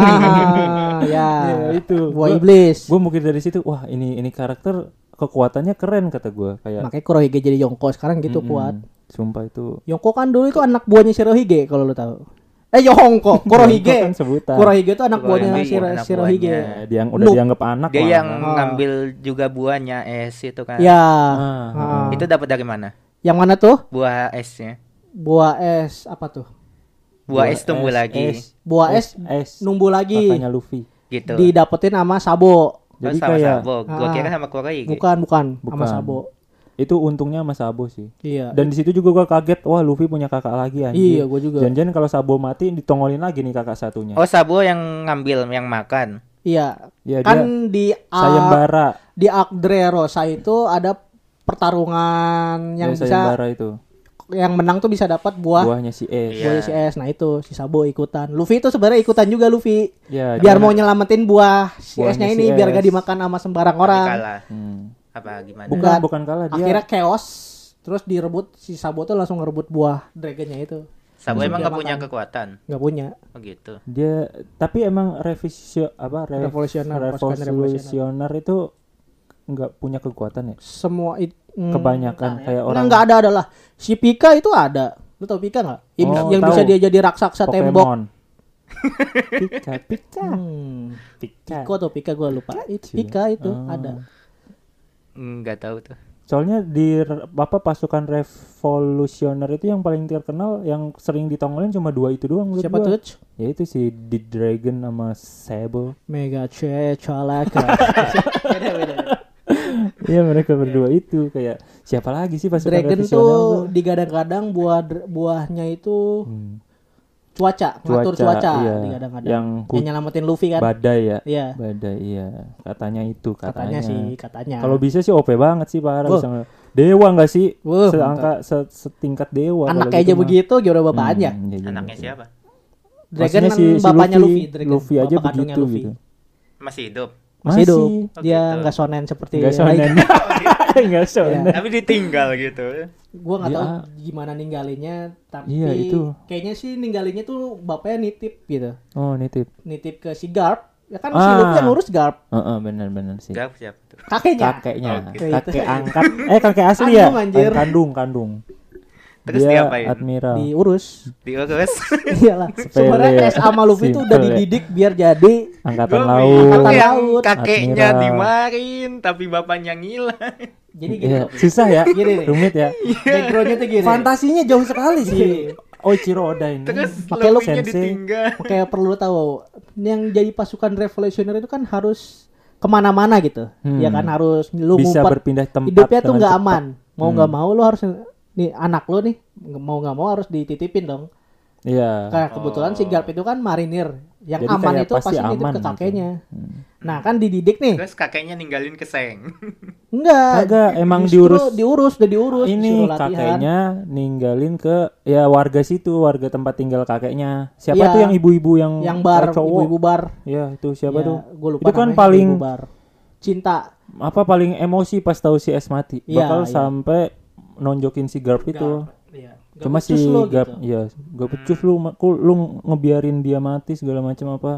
Ah, ya.
Ya, Iya, itu.
Buah
Gua-
iblis.
gue mungkin dari situ, wah ini ini karakter kekuatannya keren kata gue kayak
Makanya Kurohige jadi Yonko sekarang gitu
mm,
kuat.
Sumpah itu
Yonko kan dulu itu anak buahnya Shirohige kalau lu tahu. Eh Yonko, Kurohige.
Yonko kan sebutan.
Kurohige itu anak
Kurohige,
buahnya Shiro-
anak buahnya.
Shirohige.
ya, dia yang udah
Noob.
dianggap anak
Dia
lah.
yang
Oh.
ngambil juga buahnya es itu kan.
Ya.
Ah,
Ah.
Itu dapat dari mana?
Yang mana tuh?
Buah esnya.
Buah es apa tuh?
Buah, es tumbuh lagi
Buah es,
es
numbuh Oh, lagi.
makanya Luffy.
gitu. Oh,
Didapetin sama Sabo.
Jadi
sama
kayak
Sabo. Gua
Ah.
kira sama ya, Kurohige.
Bukan, bukan, sama
Bukan.
Sabo.
itu untungnya sama Sabo sih.
Iya.
Dan di situ juga gua kaget, wah Luffy punya kakak lagi anjir.
Iya, gua juga.
Janjian kalau Sabo mati ditongolin lagi nih kakak satunya.
Oh Sabo yang ngambil yang makan.
Iya.
Iya,
kan di A,
sayembara.
di Akdre Rosa itu ada pertarungan yang
Yang
bisa
Iya, sayembara itu.
yang menang tuh bisa dapat buah
Buahnya si E.
Iya.
buahnya si S. Nah, itu si Sabo ikutan. Luffy itu sebenarnya ikutan juga Luffy.
Ya,
biar
dia-
mau nyelamatin buah si
Buahnya
S-nya
si
ini biar gak
S.
dimakan sama sembarang orang.
Tapi Kalah.
Hmm.
Apa gimana?
Bukan, bukan
Bukan.
kalah dia.
Akhirnya chaos terus direbut si Sabo tuh langsung ngerebut buah dragonnya itu.
Sabo emang
dia
gak punya
makan.
kekuatan.
nggak punya.
Oh gitu.
Dia tapi emang revisi apa rev-
Revolusioner, pasukan
revolusioner, itu nggak punya kekuatan ya?
Semua it, mm,
Kebanyakan
ya.
kayak orang
Orang nggak ada adalah si Pika itu ada. Lu tau Pika nggak? Yang,
Oh,
yang
tahu.
bisa dia jadi raksasa tembok.
Pokemon. pika, pika,
Hmm.
pika.
Piko atau Pika gue lupa. Itu Pika itu
Ah.
ada.
Enggak tahu tuh.
Soalnya di re- apa pasukan revolusioner itu yang paling terkenal yang sering ditongolin cuma dua itu doang menurut
Siapa
gua.
tuh?
Ya itu si The Dragon sama Sable.
Mega C Chalaka. Beda, beda, beda.
Iya mereka berdua itu kayak siapa lagi sih pas suka ada
Dragon
visional
tuh digadang-gadang buah buahnya itu
Hmm.
cuaca, ngatur
Cuaca,
cuaca
iya.
digadang-gadang.
Yang ku-
nyelamatin Luffy kan.
badai ya.
Iya.
Badai iya. Katanya itu katanya.
Katanya, sih, katanya.
Kalau bisa sih OP banget sih parah
Wah.
bisa nge- dewa nggak sih?
Wah,
Seangka se- setingkat dewa. kalau
Anaknya aja
gitu mah.
begitu, gimana bapaknya?
Hmm, iya, iya,
Anaknya
iya.
siapa?
Dragon
Maksudnya
kan
si- si
bapaknya
Luffy.
Luffy, Dragon.
Luffy aja
Bapak kandungnya
begitu
Luffy.
gitu.
Masih hidup.
Masih hidup.
Oh,
Dia
gitu.
nggak sonen seperti
Enggak sonen.
Iya.
Enggak sonen.
Tapi ditinggal gitu.
Gue nggak
Dia-
tahu gimana ninggalinnya, tapi
Iya, itu.
kayaknya sih ninggalinnya tuh bapaknya nitip gitu,
Oh, nitip.
nitip ke si Garp. Ya kan si
Ah.
Luffy yang ngurus Garp,
Heeh, benar-benar sih.
Gak siapa tuh.
kakeknya.
Oh,
Kakeknya,
gitu.
Oke.
kakek angkat. Eh, kakek asli ya?
Kandung, anjir.
Kandung, kandung.
Terus
dia
diapain?
admiral.
Diurus.
Diurus.
Iyalah. Sebenarnya S sama Luffy tuh udah
Simpel ya.
dididik biar jadi
Angkatan
Gua
laut.
mikir yang
Laut.
kakeknya
Admiral.
dimarin tapi bapaknya ngilang.
jadi gini.
Iya,
Rob.
susah ya,
Gini nih.
rumit ya.
gitu. Backgroundnya tuh gini.
Fantasinya jauh sekali sih.
Oh,
Oichiro Oda ini.
Terus
Pakai lu Eh.
Luffy-nya
sensei.
ditinggal.
Kayak perlu tahu yang jadi pasukan revolusioner itu kan harus kemana-mana gitu,
Hmm.
ya kan harus lu
Bisa
ngumpet.
berpindah tempat
hidupnya tuh
dengan
nggak
cepat. Hmm.
aman. Mau nggak mau lu harus nih anak lu nih mau nggak mau harus dititipin dong.
Iya.
Karena kebetulan si Garp itu kan marinir, yang
Jadi
aman
kayak
itu
pasti
pasti, nitip
aman
ke
gitu.
kakeknya. Nah kan dididik nih,
Terus kakeknya ninggalin ke Seng.
enggak.
Kagak, emang
justru
diurus.
diurus, udah diurus.
Ini
disuruh latihan.
kakeknya ninggalin ke ya warga situ, warga tempat tinggal kakeknya. Siapa
Iya.
tuh yang ibu-ibu yang
yang bar,
eh, cowok?
ibu-ibu bar.
Ya, itu siapa
Ya,
tuh?
Gua lupa
itu kan
namanya,
paling
ibu bar. cinta
apa paling emosi pas tahu si S mati.
Iya,
Bakal
iya.
sampai nonjokin si Garp itu.
Iya.
Cuma si
becus lo
Gap,
gitu.
ya, gak becus lu, ma- ku- lu ngebiarin dia mati segala macam apa.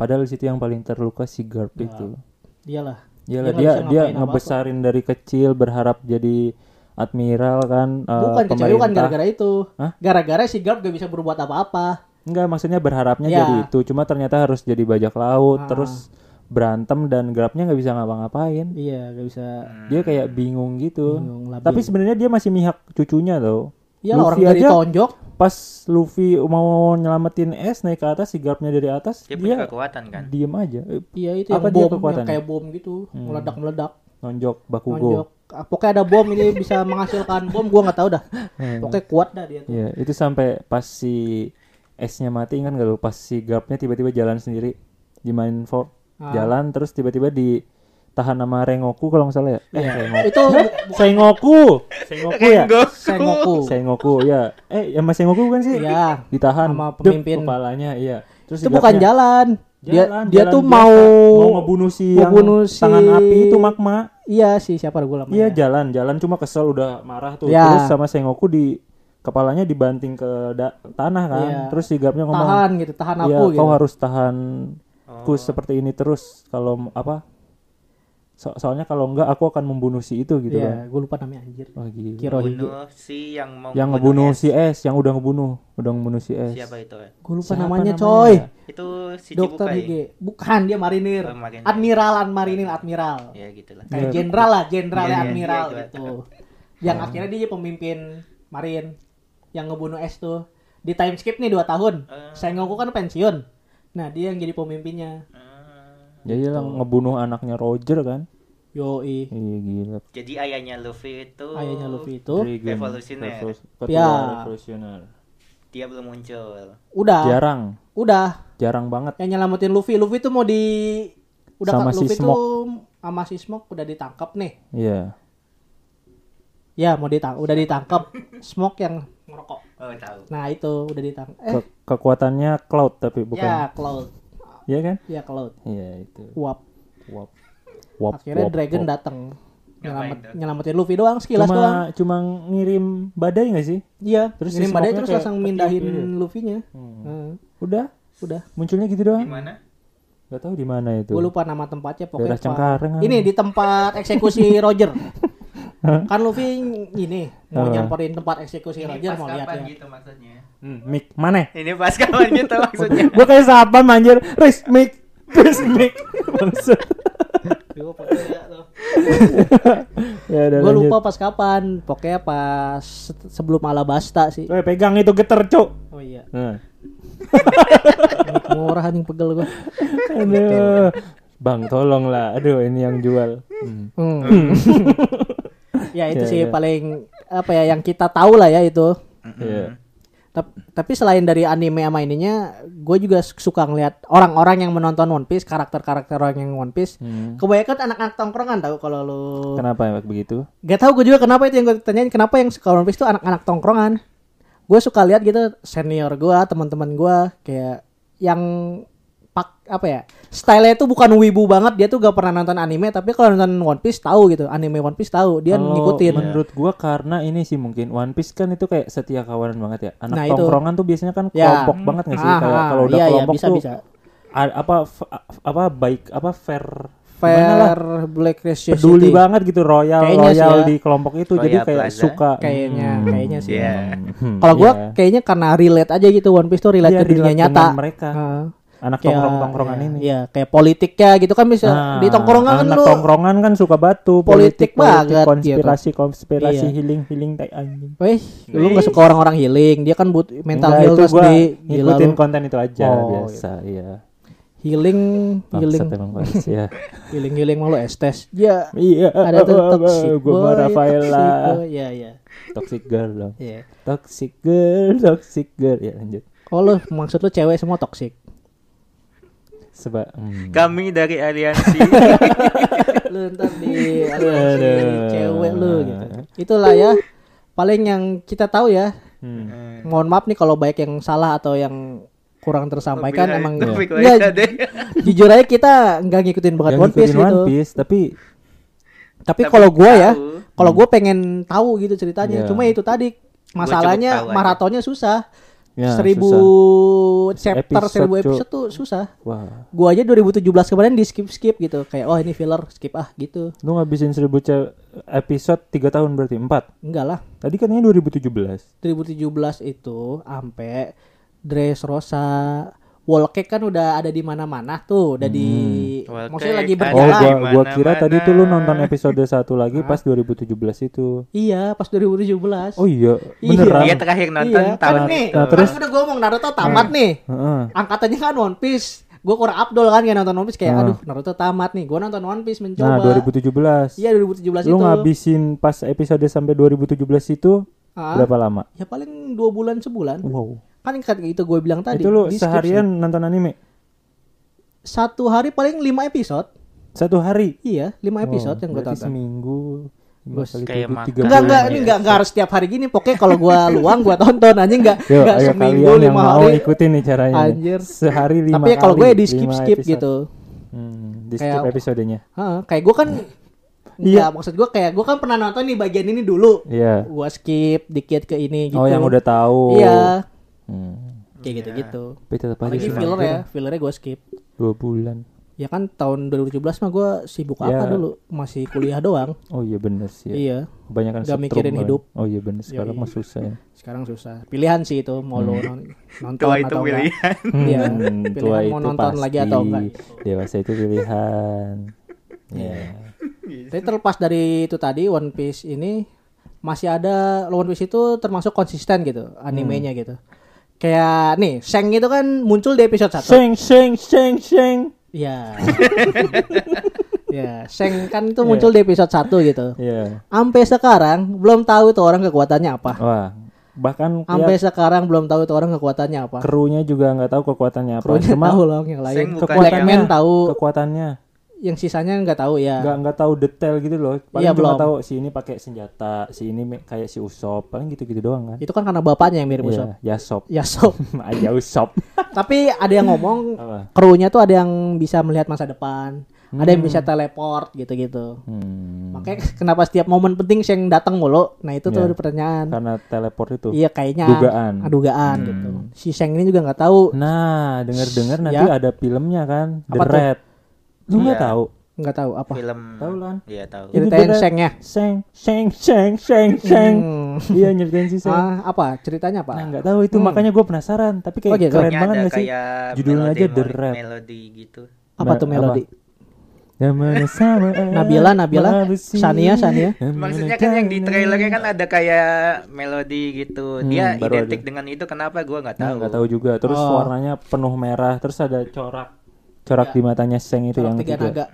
Padahal di situ yang paling terluka si Garp itu.
Dialah.
Iyalah
Iya. nggak
dia
bisa
dia
ngapain apa-apa.
ngebesarin dari kecil berharap jadi admiral kan eh,
Bukan kecewa bukan gara-gara itu.
Hah?
Gara-gara si Garp gak bisa berbuat apa-apa.
Enggak, maksudnya berharapnya
Ya.
jadi itu. Cuma ternyata harus jadi bajak laut,
Ah.
terus berantem dan garapnya nggak bisa ngapa-ngapain.
Iya, gak bisa.
Dia kayak bingung gitu.
Bingung, labil.
Tapi sebenarnya dia masih mihak cucunya loh.
Iyalah orang dari tonjok.
pas Luffy mau nyelamatin S naik ke atas, si garapnya dari atas,
Dia
dia,
punya kekuatan kan.
diem aja. Eh,
Iya itu
Apa
yang
dia
bom,
kekuatan?
yang kayak bom gitu, meledak-meledak.
Nonjok
Tonjok.
Bakugo.
Ah, Pokoknya ada bom ini bisa menghasilkan bom, gua nggak tahu dah.
Hmm.
Pokoknya kuat dah dia tuh.
Iya, itu sampai pas si S-nya mati kan gak lu pas si Garpnya tiba-tiba jalan sendiri di main for
Ah.
jalan terus tiba-tiba ditahan sama Rengoku kalau nggak salah ya. Eh, Rengoku.
Itu
Sengoku. Sengoku ya.
Rengoku.
Sengoku.
Sengoku ya. Eh, sama Sengoku kan sih?
Iya.
Ditahan
Sama
Dep,
pemimpin.
kepalanya iya. Terus
Itu bukan
jalan,
jalan. Dia
jalan,
dia
jalan
tuh
biasa.
mau
mau ngebunuh si yang
ngebunuh si-
tangan api itu magma.
Iya sih siapa gue lama.
Iya, jalan, jalan cuma kesel udah marah tuh.
Iya.
Terus sama Sengoku di kepalanya dibanting ke da- tanah kan.
Iya.
Terus si Garpnya ngomong,
Tahan gitu, tahan
Iya,
aku gitu.
kau harus tahan
Oh.
kus seperti ini terus kalau m- apa? So- soalnya kalau enggak aku akan membunuh si itu gitu
Iya,
kan.
gue lupa namanya anjir.
Wah, gila.
Kirohige.
Bunuh si yang mau
Yang ngebunuh
ngebunuh
si S, yang udah ngebunuh, udah ngebunuh si S.
Siapa itu? ya?
Gue lupa
Siapa
namanya,
namanya?
coy.
Itu si
Dokter
Cibukai.
Hige. Bukan dia marinir.
Oh, marinir.
Admiralan marinir admiral.
Ya gitulah.
Iya.
Kayak jenderal lah, jenderal
Iya, iya,
admiral
iya,
gitu. Yang akhirnya dia jadi pemimpin marin yang ngebunuh S tuh. Di time skip nih 2 tahun.
Eh.
Sengoku kan pensiun. Nah, dia yang jadi pemimpinnya.
Ya iyalah
Gitu.
ngebunuh anaknya Roger kan.
Yoi.
Iya gila.
Jadi ayahnya Luffy itu
Ayahnya Luffy itu
Dragon
Revolusioner.
versus- Ketua
Ya.
revolusioner.
dia belum muncul.
udah,
Jarang,
udah
jarang banget.
yang nyelamatin Luffy. Luffy tuh mau di udah
Sama
kan
si
Luffy
Smoke.
tuh sama si Smoke udah ditangkap nih.
Iya.
Ya, mau ditang udah ditangkap. Smoke yang ngerokok.
Oh, tahu.
Nah, itu udah ditangkap. Eh,
Ke- kekuatannya Cloud tapi bukan.
ya Cloud.
Iya kan?
Ya Cloud.
Iya itu.
Uap.
Wap. Wap. wap,
Akhirnya Dragon
wap.
datang. Nyelamat,
Ngapain tuh?
nyelamatin Luffy doang sekilas
cuma
doang.
cuma ngirim badai nggak sih? terus
Iya, terus
si
ngirim badai
Smoke-nya
terus
kayak
langsung
ketiup
mindahin
gitu.
Luffy-nya. Heeh,
Udah
udah.
munculnya gitu doang
Di mana?
nggak tahu di mana itu
Gue lupa nama tempatnya pokoknya.
daerah Cengkareng
apa.
kan?
Ini di tempat eksekusi Roger. kan Luffy ini
Apa?
mau nyamperin tempat eksekusi Roger mau lihat ya.
gitu maksudnya?
Hmm, Mik mana
Ini pas kapan gitu maksudnya?
gue kayak siapa anjir Riz Mik Riz Mik Maksud
Gua pokoknya lihat tuh.
ya udah
Gua
lanjut
lupa pas kapan. Pokoknya pas se- sebelum Alabasta sih.
Eh, pegang itu geter cuk
Oh iya.
nah.
Murah anjing pegel gua.
aduh bang tolong lah aduh ini yang jual
Hmm. ya itu
Hmm. Ya,
sih
ya.
paling apa ya yang kita tahu lah ya itu.
Iya.
Tap- Tapi selain dari anime sama ininya, gue juga s- suka ngeliat orang-orang yang menonton One Piece, karakter-karakter orang yang One Piece.
Hmm.
Kebanyakan anak-anak tongkrongan tahu kalau lu
Kenapa emang begitu?
Gak tau gue juga kenapa itu yang gue tanyain kenapa yang suka One Piece tuh anak-anak tongkrongan. Gue suka lihat gitu senior gue, teman-teman gue kayak yang pak apa ya style itu bukan wibu banget dia tuh gak pernah nonton anime tapi kalau nonton One Piece tahu gitu anime One Piece tahu dia
Kalau
ngikutin
Menurut gua karena ini sih mungkin One Piece kan itu kayak setia kawanan banget ya. Anak
Nah, itu.
tongkrongan tuh biasanya kan
Ya.
kelompok banget nggak sih?
Ah,
Kayak
ah,
kalau udah
iya, iya,
kelompok
bisa,
tuh
bisa.
a- apa f- a- apa baik apa fair gimana lah,
fair black ratio
peduli banget gitu royal
Kayaknya sih
royal
ya.
di kelompok itu
Royal
jadi kayak
Plaza.
suka
kayaknya
Hmm.
kayaknya sih
Iya.
Hmm,
kalau gua
iya.
kayaknya karena relate aja gitu One Piece tuh relate
Iya,
ke dunia
relate
nyata
dengan mereka.
Heeh.
anak
Kayak-
tongkrong tongkrongan
iya,
ini
iya kayak politiknya gitu kan bisa
Nah,
di tongkrongan kan
anak
lu
tongkrongan kan suka batu
politik banget gitu.
konspirasi konspirasi
Iya.
healing healing tai anjing
Wih, lu gak suka orang-orang healing dia kan butuh mental
Enggak,
heal
itu
terus
gua
di gila
ngikutin
lu.
konten itu aja
Oh,
biasa iya
healing healing
Bangsat emang guys ya
healing healing malu estes ya
iya
ada tuh toxic
gue
boy,
mau Rafaela
toxic boy. ya ya
toxic girl dong
ya
toxic girl toxic girl ya lanjut
oh lu maksud lu cewek semua toxic
sebab hmm.
Kami dari aliansi.
lu ntar di
Aduh.
cewek lu gitu itulah ya paling yang kita tahu ya
Hmm.
mohon maaf nih kalau baik yang salah atau yang kurang tersampaikan
Lebih-
emang
ya.
lebih
Iya,
kelihatan deh.
jujur aja kita nggak ngikutin banget
Yang
One Piece
ngikutin
gitu
One Piece, tapi
tapi
Tapi
kalau gua ya
tahu.
kalau gua pengen tahu gitu
Hmm.
ceritanya
Iya.
cuma itu tadi
cukup
masalahnya
tahu aja.
maratonnya susah
ya,
seribu
susah.
chapter
Episode,
seribu
Cuk.
episode tuh susah
Wah,
gua aja 2017 kemarin di skip skip gitu kayak oh ini filler skip ah gitu
lu ngabisin seribu ce- episode 3 tahun berarti 4
enggak lah
Tadi katanya 2017
2017 itu ampe dress rosa wall cake kan udah ada di mana-mana tuh udah di
Wall
maksudnya lagi
cake ada
Oh,
berjalan
gua,
Dimana-mana.
gua kira tadi tuh lu nonton episode satu lagi pas 2017 itu.
iya pas 2017
Oh iya,
Iya.
beneran.
Dia terakhir nonton
iya,
tahun
kan nih,
itu.
Nah,
terus
terus? Hmm.
udah gue ngomong Naruto tamat nih.
Heeh.
Angkatannya kan One Piece. Gue kurang Abdul kan kayak nonton One Piece kayak
Ah.
aduh Naruto tamat nih. Gue nonton One Piece mencoba.
Nah, 2017.
Iya 2017
lu
itu.
ngabisin pas episode sampai 2017 itu
Ah.
berapa lama?
Ya paling dua bulan sebulan.
Wow.
Kan kayak itu gue bilang tadi.
itu lu
di skip
seharian nonton anime?
sih. satu hari paling lima episode.
Satu hari.
Iya, lima episode
Wow,
yang
Oh,
gue
berarti ya.
tonton.
Seminggu. lima
Bos,
kali
kayak
tujuh,
makan.
tiga
Enggak
bulan.
enggak ini enggak enggak harus setiap hari gini. Pokoknya kalau gue luang gue tonton anjing enggak
Yo,
enggak
ayo
seminggu
kalian yang
lima
mau
hari.
ikutin nih caranya. nih.
Anjir.
Sehari lima
Tapi ya kalau
kali,
gue di skip
lima
skip
episode.
gitu.
Hmm, di skip
Kayak-
episodenya.
Heeh, kayak gue kan Iya, maksud gue kayak gue kan pernah nonton nih bagian ini dulu.
Iya.
Gua skip dikit ke ini gitu.
Oh, yang udah tahu.
Iya,
Hmm.
kayak
Iya.
gitu-gitu.
Tapi tetap aja
Lagi
sih,
filler
anjir.
ya, fillernya gua skip.
Dua bulan.
Ya kan tahun 2017 mah gua sibuk
Ya.
apa dulu? Masih kuliah doang.
Oh iya bener sih. ya.
Iya.
Kebanyakan
Nggak
setrum
mikirin
kan.
hidup.
Oh iya bener sekarang mah susah ya.
Sekarang susah. Pilihan sih itu mau lu non- nonton
Tua itu
atau enggak.
pilihan.
Iya.
Hmm,
Pilihan mau nonton lagi atau enggak.
Dewasa itu pilihan. Iya.
Tapi terlepas dari itu tadi One Piece ini masih ada One Piece itu termasuk konsisten gitu animenya
Hmm.
gitu. Kayak nih, Shang itu kan muncul di episode 1.
Seng seng seng seng.
Ya. ya, Sheng kan itu muncul di episode 1 gitu.
Iya.
Sampai sekarang belum tahu tuh orang kekuatannya apa.
Wah, bahkan
Sampai
ya,
sekarang belum tahu tuh orang kekuatannya apa.
krunya juga nggak tahu kekuatannya apa.
Krunya
Cuma
tahu loh yang lain.
Sheng bukan
Black
yang-
Man tahu, Iya.
kekuatannya
yang sisanya nggak tahu ya.
nggak nggak tahu detail gitu loh. Paling
Iya,
cuma
belum.
tahu si ini pakai senjata, si ini me- kayak si Usop, paling gitu-gitu doang kan.
Itu kan karena bapaknya yang mirip Usopp.
Iya, Yasop.
Ya Sob.
Aja Usop.
Tapi ada yang ngomong
Apa?
krunya tuh ada yang bisa melihat masa depan, ada yang bisa teleport gitu-gitu.
Hmm.
Makanya kenapa setiap momen penting Sheng datang mulu. Nah, itu tuh
Iya.
pertanyaan.
Karena teleport itu.
Iya kayaknya
Dugaan. Hmm.
Ah, dugaan gitu. Si Sheng ini juga nggak tahu,
Nah, dengar-dengar nanti
Ya.
ada filmnya kan, The
Apa tuh?
Red. Lu nggak
Iya.
tahu?
nggak tahu apa.
Film.
Tahu, Lan.
Iya tahu.
Itu
Ceritain
The Red.
Shengnya. Hmm.
Seng, seng, seng, seng, seng. Iya nyeritain si Seng.
Ah, apa Hmm. ceritanya
Nah,
apa?
nggak tahu itu makanya gue penasaran. Tapi kayak
Oh, gitu.
keren
Pokoknya
banget
ada
nggak sih?
kayak
Judulnya
melodi-
aja The Red.
Melodi gitu.
apa
Ba-
tuh melodi?
Namanya sama.
Nabila, Nabila, Sania, Sania.
Maksudnya kan yang di trailernya kan ada kayak melodi gitu. Dia
Hmm, baru
identik dengan itu kenapa gua nggak
Nah,
tahu.
nggak tahu juga. Terus
Oh.
warnanya penuh merah. Terus ada corak, corak di matanya Seng itu
Iya. Corak
yang
tiga
tiga.
naga.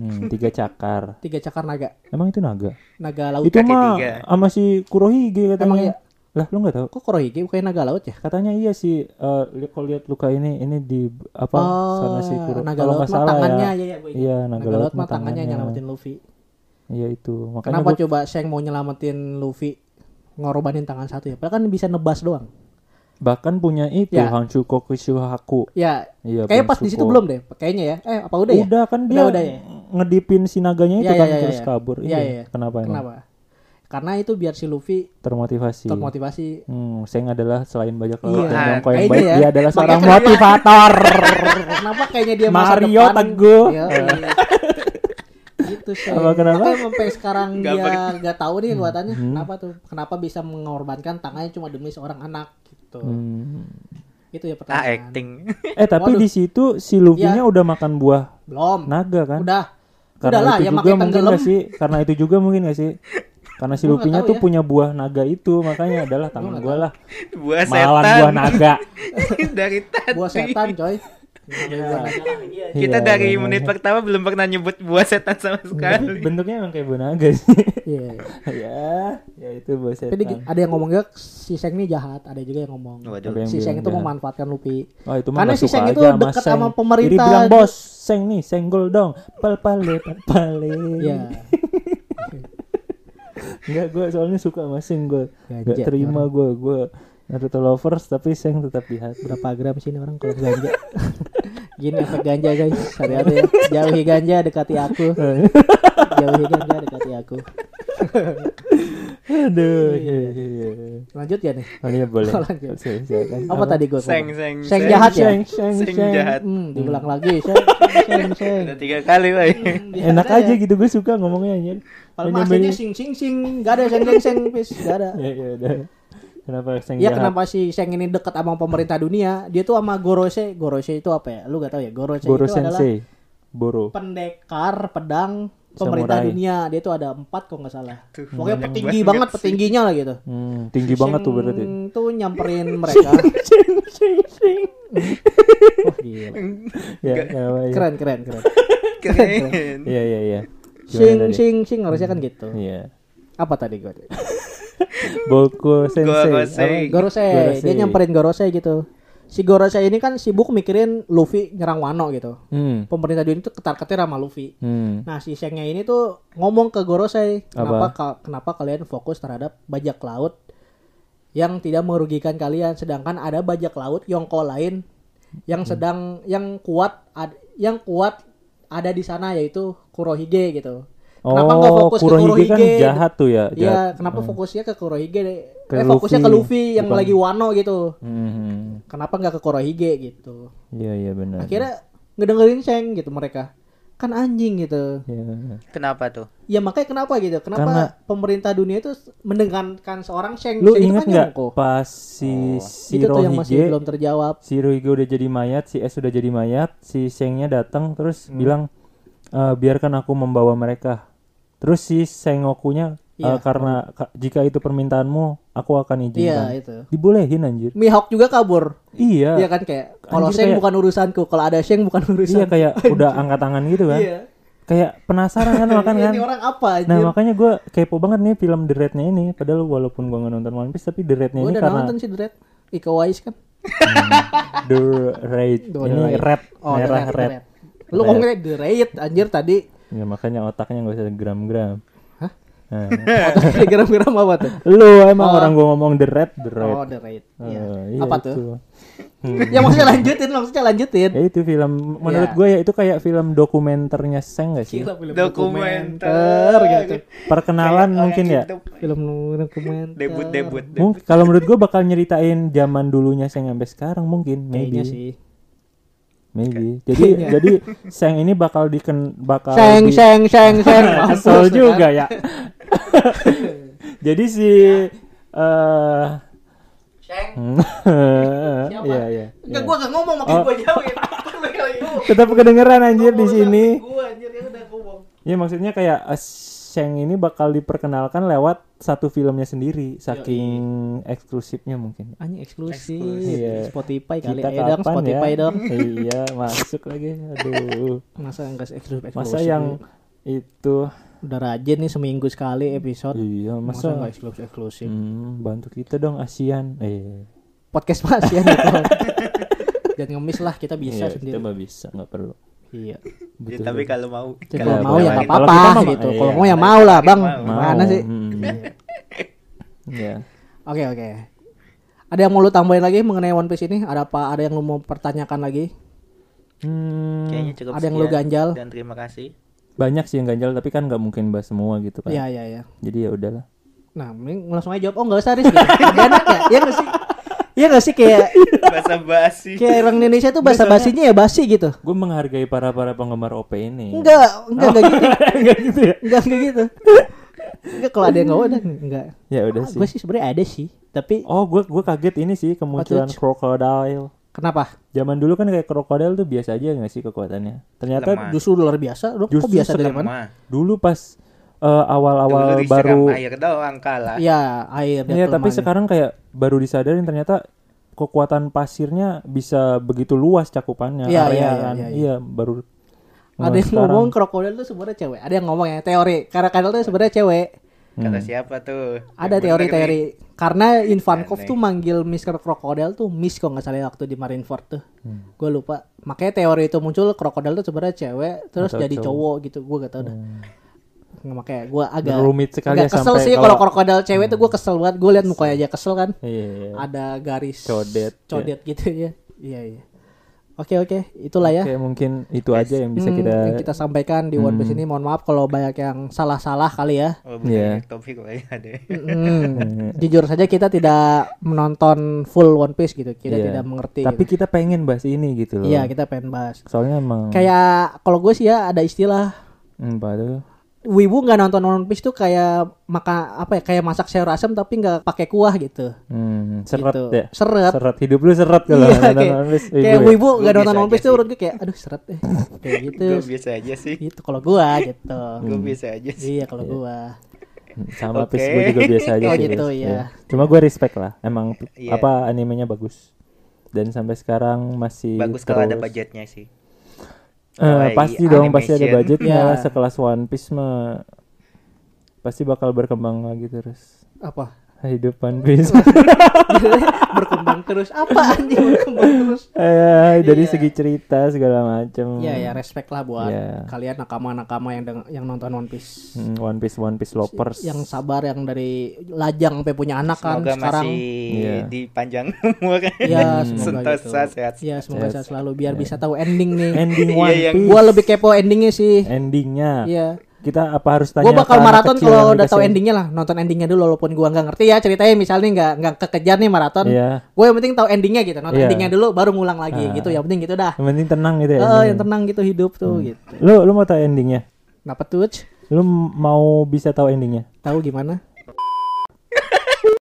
Hmm, tiga cakar.
Tiga cakar naga.
Emang itu naga?
Naga laut.
itu
kaki
mah
tiga.
sama si Kurohige katanya.
Emang iya?
Lah, lu nggak tahu?
Kok Kurohige bukan naga laut ya?
Katanya iya sih eh, li kalau lihat luka ini ini di apa sana si Kuro.
Oh, naga
Kalau
laut
nggak
mah
salah ya.
tangannya ya, ya, gua ingat.
Iya, naga, laut mah
tangannya
tangannya.
nyelamatin Luffy.
Iya itu. Makanya
Kenapa
gua-
coba Shang mau nyelamatin Luffy ngorbanin tangan satu ya? Padahal kan bisa nebas doang.
bahkan punya itu
Ya.
Hanshu Kokushuhaku.
Ya,
Iya.
kayaknya
Bang
pas di situ
Suko.
belum deh, kayaknya ya. Eh, apa udah, ya?
Udah kan dia
udah ya?
ngedipin si naganya itu
Ya, ya,
kan
ya, ya,
terus
ya.
kabur.
Ya,
Iya.
ya, ya.
Kenapa emang?
Kenapa? Karena itu biar si Luffy
Termotivasi.
termotivasi.
Hmm, Seng adalah selain bajak laut
Iya.
dan jongkok yang
Kayaknya
baik,
ya.
dia adalah seorang
Makanya kenapa-
motivator.
Kenapa kayaknya dia masa
Mario
depan?
Teguh.
Iya. gitu sih.
Apa, kenapa?
Makanya sampai sekarang
Nggak
dia
ber-
nggak tahu nih kelihatannya
Hmm.
kenapa tuh? Kenapa bisa mengorbankan tangannya cuma demi seorang anak gitu.
Hmm.
Itu ya
Ah,
pertanyaan.
acting.
Eh tapi
Waduh.
di situ si Luffy-nya udah makan buah
Belum.
naga kan?
Udah.
Karena
Udahlah,
itu
yang
juga
makin
mungkin
tenggelam.
gak sih? Karena itu juga mungkin gak sih? Karena si
Gua nggak
Luffy-nya
tahu
tuh
ya.
punya buah naga itu makanya adalah tangan
nggak
gua lah
Buah
malan
setan.
buah naga.
dari tadi.
Buah setan, coy. Buah naga.
Kita
Iya,
dari
iya,
menit
iya.
pertama belum pernah nyebut buah setan sama
Tapi
sekali.
bentuknya emang kayak buah naga sih.
Iya.
ya, ya itu buah setan.
Tapi di- ada yang ngomong gak si Seng ini jahat, ada juga yang ngomong.
Ada
Waduh.
yang
si Seng
bilang
itu
jahat.
memanfaatkan Luffy.
Oh, itu
Karena
mah
si Seng itu deket sama
Jadi
pemerintah.
bilang bos, Seng nih, senggol dong. Pal pale, pal pale.
Iya.
Enggak, gue soalnya suka sama Seng gue. Enggak
Gajah,
terima gue, gue Naruto lovers tapi Seng tetap di hati.
Berapa gram sih ini orang kalau ganja? Gini efek ganja guys, hati-hati ya. Jauhi ganja, dekati aku. Jauhi ganja, dekati aku.
Aduh. iya, iya, iya.
Lanjut ya nih.
Oh iya boleh.
Lanjut.
Oke, silakan.
Apa tadi gue?
Seng, seng,
Seng
seng.
jahat ya.
Seng, seng,
Seng
seng.
jahat.
Hmm, diulang lagi. Seng, seng, seng.
Udah tiga kali, Boy.
Enak aja gitu gue suka ngomongnya anjir.
ya? Kalau
Nyampe-
masanya sing sing sing, gak ada seng seng seng, pis, gak ada.
Ya ya udah. Kenapa seng
Ya
jahat?
kenapa si Seng ini deket sama pemerintah dunia? Dia tuh sama Gorose. Gorose itu apa ya? Lu gak tahu ya? Gorose,
Boro
itu adalah
sensei. Boro.
pendekar pedang pemerintah
Samurai.
dunia. Dia tuh ada empat kok nggak salah.
Tuh,
Pokoknya
banyak
petinggi
banget
banget,
sih.
petingginya lah gitu.
Hmm, tinggi banget tuh berarti. Iya.
Sing Tuh nyamperin mereka.
Sing sing sing.
Oh, gila.
Ya, kenapa ya?
Keren keren keren.
Keren.
Iya iya iya.
Sing
Gimana tadi?
sing sing harusnya kan gitu.
Iya.
Apa tadi gue?
Boko sensei.
Boro sensei.
Apa?
Gorose.
Gorose.
Dia nyamperin Gorose gitu. Si Gorose ini kan sibuk mikirin Luffy nyerang Wano gitu.
Hmm.
Pemerintah dunia itu ketar-ketir sama Luffy.
Hmm.
Nah si Shengnya ini tuh ngomong ke Gorosei kenapa
Apa?
ka- kenapa kalian fokus terhadap bajak laut yang tidak merugikan kalian sedangkan ada bajak laut yongko lain yang
Hmm.
sedang yang kuat ad- yang kuat ada di sana yaitu Kurohige gitu. Kenapa nggak
Oh,
fokus
Kurohige
ke
kan
Kurohige?
jahat tuh ya, jahat.
Iya, kenapa fokusnya ke Kurohige?
Ke
eh fokusnya ke
Luffy,
Luffy yang
bukan-
lagi Wano gitu.
Hmm.
Kenapa nggak ke Kurohige gitu?
Iya iya benar.
Akhirnya ngedengerin Sheng gitu mereka. Kan anjing gitu.
Iya.
Kenapa tuh?
Ya makanya kenapa gitu? Kenapa
Karena-
pemerintah dunia itu mendengarkan seorang Sheng?
Lu
Sheng itu
ingat
kan
nggak
Yonko.
pas si
Itu tuh yang masih
Shirohige
belum terjawab.
si Ruige udah jadi mayat, si S udah jadi mayat, si Sengnya datang terus bilang "Eh, biarkan aku membawa mereka. Terus si Sengokunya "Eh,
Iya.
karena ka- jika itu permintaanmu, aku akan
Iya
izinkan.
itu.
Dibolehin anjir.
Mihawk juga kabur. Iya
Iya.
kan kayak kalau
Anjir,
Sheng
kayak-
bukan urusanku, kalau ada Sheng bukan
Iya
urusan.
kayak udah angkat tangan gitu kan.
Iya.
Kayak penasaran kan makan kan.
Ini orang apa
Nah
anjir?
makanya gue kepo banget nih film The Red-nya ini. Padahal walaupun gue nggak nonton One Piece tapi The Red-nya
Gua
ini
udah
karena Hmm,
nonton sih Dread. Ika Wais kan.
The Red
The
ini
Raid.
red
Oh, The
merah
Raid, The
red.
Raid. Lu ngomongnya The Raid anjir tadi.
Ya makanya otaknya nggak usah gram-gram.
Hah?
Nah.
Otaknya geram-geram apa tuh?
Lu emang orang gua ngomong the red, the red.
Oh, The Raid. Iya.
Eh,
Apa
itu.
tuh? Ya maksudnya lanjutin, maksudnya lanjutin.
Ya itu film menurut
Iya.
gue ya itu kayak film dokumenternya Seng gak sih?
Dokumenter.
gitu.
Perkenalan mungkin ya.
Film dokumenter.
Debut, debut. debut.
Mungkin kalau menurut gue bakal nyeritain zaman dulunya Seng sampai sekarang mungkin maybe.
Kayaknya sih.
Maybe. Jadi jadi Seng ini bakal diken bakal
Iya. Seng
di-
seng seng seng.
Kesel juga ya. Jadi si eh Iya iya.
Enggak gua gak ngomong makin gua jauhin. Lu kali lu. Eh.
Tetap kedengeran anjir di sini.
Gua anjir ya udah ngomong.
Ya maksudnya kayak eh, Shang ini bakal diperkenalkan lewat satu filmnya
Iya,
sendiri saking eksklusifnya mungkin
Anjing eksklusif.
Eksklusif.
Iya.
Spotify kali
kita
eh dong
kapan ya
Spotify dong.
iya masuk lagi aduh
Masa enggak eksklusif eksklusif.
masa yang itu
udah rajin nih seminggu sekali episode.
iya
Masa
masa,
enggak eksklusif eksklusif.
Hmm, bantu kita dong ASEAN eh
Podcast Mas ya gitu. Jangan ngemis lah kita
iya,
bisa sendiri.
kita mah bisa nggak perlu
Iya.
Ya,
Betul.
tapi kalau mau
Jadi
Kalau
Kalau mau ya
kita-
nggak
kalau
apa-apa
kita mah-
gitu.
iya.
Kalau mau ya mau lah bang.
Mau.
Mana sih?
hmm. Iya.
Oke oke. Ada yang mau lu tambahin lagi mengenai One Piece ini? Ada apa? Ada yang lu mau pertanyakan lagi?
Hmm,
kayaknya cukup
Ada yang lu
sekian.
ganjal?
dan terima kasih
banyak sih yang ganjal tapi kan nggak mungkin bahas semua gitu kan
Iya iya iya.
jadi ya udahlah
Nah, mending langsung aja jawab. Oh, enggak usah Riz. Gitu. Gak enak ya? Iya enggak sih? Iya enggak sih kayak
bahasa basi
kayak orang Indonesia tuh bahasa basinya ya basi gitu.
gue menghargai para para penggemar OP ini
Enggak, enggak enggak gitu.
Enggak gitu ya
Enggak enggak gitu. Enggak kalau ada yang enggak ada enggak.
ya udah
Ah,
sih
gue sih sebenarnya ada sih, tapi
oh gue gue kaget ini sih kemunculan
Patut.
krokodil
kenapa?
zaman dulu kan kayak krokodil tuh biasa aja nggak sih kekuatannya ternyata
Lemah.
Justru luar biasa. Lu kok
Justru
biasa dari mana?
Lemah.
dulu pas eh,
Dulu
awal-awal
disiram
baru
air doang kalah
Iya, air dan
Iya, tapi
kelemahannya.
sekarang kayak baru disadarin ternyata kekuatan pasirnya bisa begitu luas cakupannya
Iya,
area
iya,
kan.
iya, iya.
Iya, baru
ada yang ngomong krokodil tuh sebenarnya cewek. Ada yang ngomong ya teori. Krokodil tuh sebenarnya cewek.
kata siapa tuh
Hmm. Ada
Yang bener
teori-teori.
nih.
Karena Ivankov
Aneh.
tuh manggil Mr. Krokodil tuh Miss kalau nggak salah ya, waktu di Marineford tuh.
Hmm.
Gue lupa. Makanya teori itu muncul krokodil tuh sebenarnya cewek terus
Atau
jadi
cowok. Hmm.
cowok. gitu. Gue gak tau dah. Makanya gue agak
Rumit sekali
agak
ya
kesel
sampai
sih
kalau- Hmm.
kalau krokodil cewek tuh gue kesel banget. Gue liat mukanya aja kesel kan.
Iya, iya.
Ada garis
Codet, ya.
codet gitu ya. Iya iya. Oke oke, itulah ya.
Oke, mungkin itu aja yang bisa
Hmm,
kita Hmm.
yang kita sampaikan di One Piece ini mohon maaf kalau banyak yang salah-salah kali ya
oh, bukan
Iya.
topik ya, kayaknya ada
Hmm.
Mm, jujur saja kita tidak menonton full One Piece gitu kita
Iya.
tidak mengerti
Tapi
gitu.
kita pengen bahas ini gitu loh.
iya kita pengen bahas
Soalnya emang
kayak kalau gue sih ya ada istilah
hmm, padahal-
Wibu nggak nonton One Piece tuh kayak maka apa ya kayak masak sayur asam tapi nggak pakai kuah gitu.
hmm, seret
Gitu.
ya.
Seret.
Seret hidup lu seret kalau
Iya,
nonton
kayak,
One Piece,
kayak
ibu ya.
Wibu nggak
Gua biasa
nonton One Piece
aja
tuh
sih.
menurut gue kayak aduh seret eh. kayak gitu.
gue biasa aja sih
gitu kalau gua gitu.
Hmm.
gue biasa aja sih
iya kalau gua.
sama
Oke.
Piece gue juga biasa aja
Oh
sih,
gitu,
Riz.
iya.
Iya. Cuma gue respect lah, emang
Iya.
apa animenya bagus. Dan sampai sekarang
Iya,
masih
bagus kalau ada
terus-
budgetnya sih
Eh,
Kawaii
pasti dong, pasti ada
animation.
budgetnya
Iya.
lah sekelas One Piece mah pasti bakal berkembang lagi terus
Apa?
hidup
Iya.
One Piece.
berkembang terus apa anjing berkembang terus?
Eh, dari segi cerita segala macem.
Iya ya respect lah buat
Hmm. Iya.
kalian nakama-nakama yang deng- yang nonton One Piece.
Hmm, One Piece, One Piece lovers.
Yang sabar yang dari lajang sampai punya anak kan
semoga
sekarang.
masih
Iya.
dipanjang umur
Iya, semoga gitu.
sentosa sehat
Iya,
Yes.
semoga
Iya.
sehat selalu biar bisa tahu ending nih.
ending
Iya,
One
yang-
Piece.
Gua lebih kepo endingnya sih.
endingnya.
Iya.
Kita apa harus tanya?
Gua
ke
bakal
anak
maraton
kecil yang
kalau udah
dikasih-
tahu endingnya lah. Nonton endingnya dulu walaupun gua nggak ngerti ya ceritanya misalnya nggak nggak kekejar nih maraton.
Iya.
Gue yang penting tahu endingnya gitu. Nonton
Iya.
endingnya dulu baru ngulang lagi
Ah.
gitu. Yang penting gitu dah.
Yang penting tenang gitu ya.
Eh,
endingnya.
yang tenang gitu hidup tuh
Hmm.
gitu.
Lu lu mau tahu endingnya?
Kenapa tuh?
Lu m- mau bisa tahu endingnya?
Tahu gimana?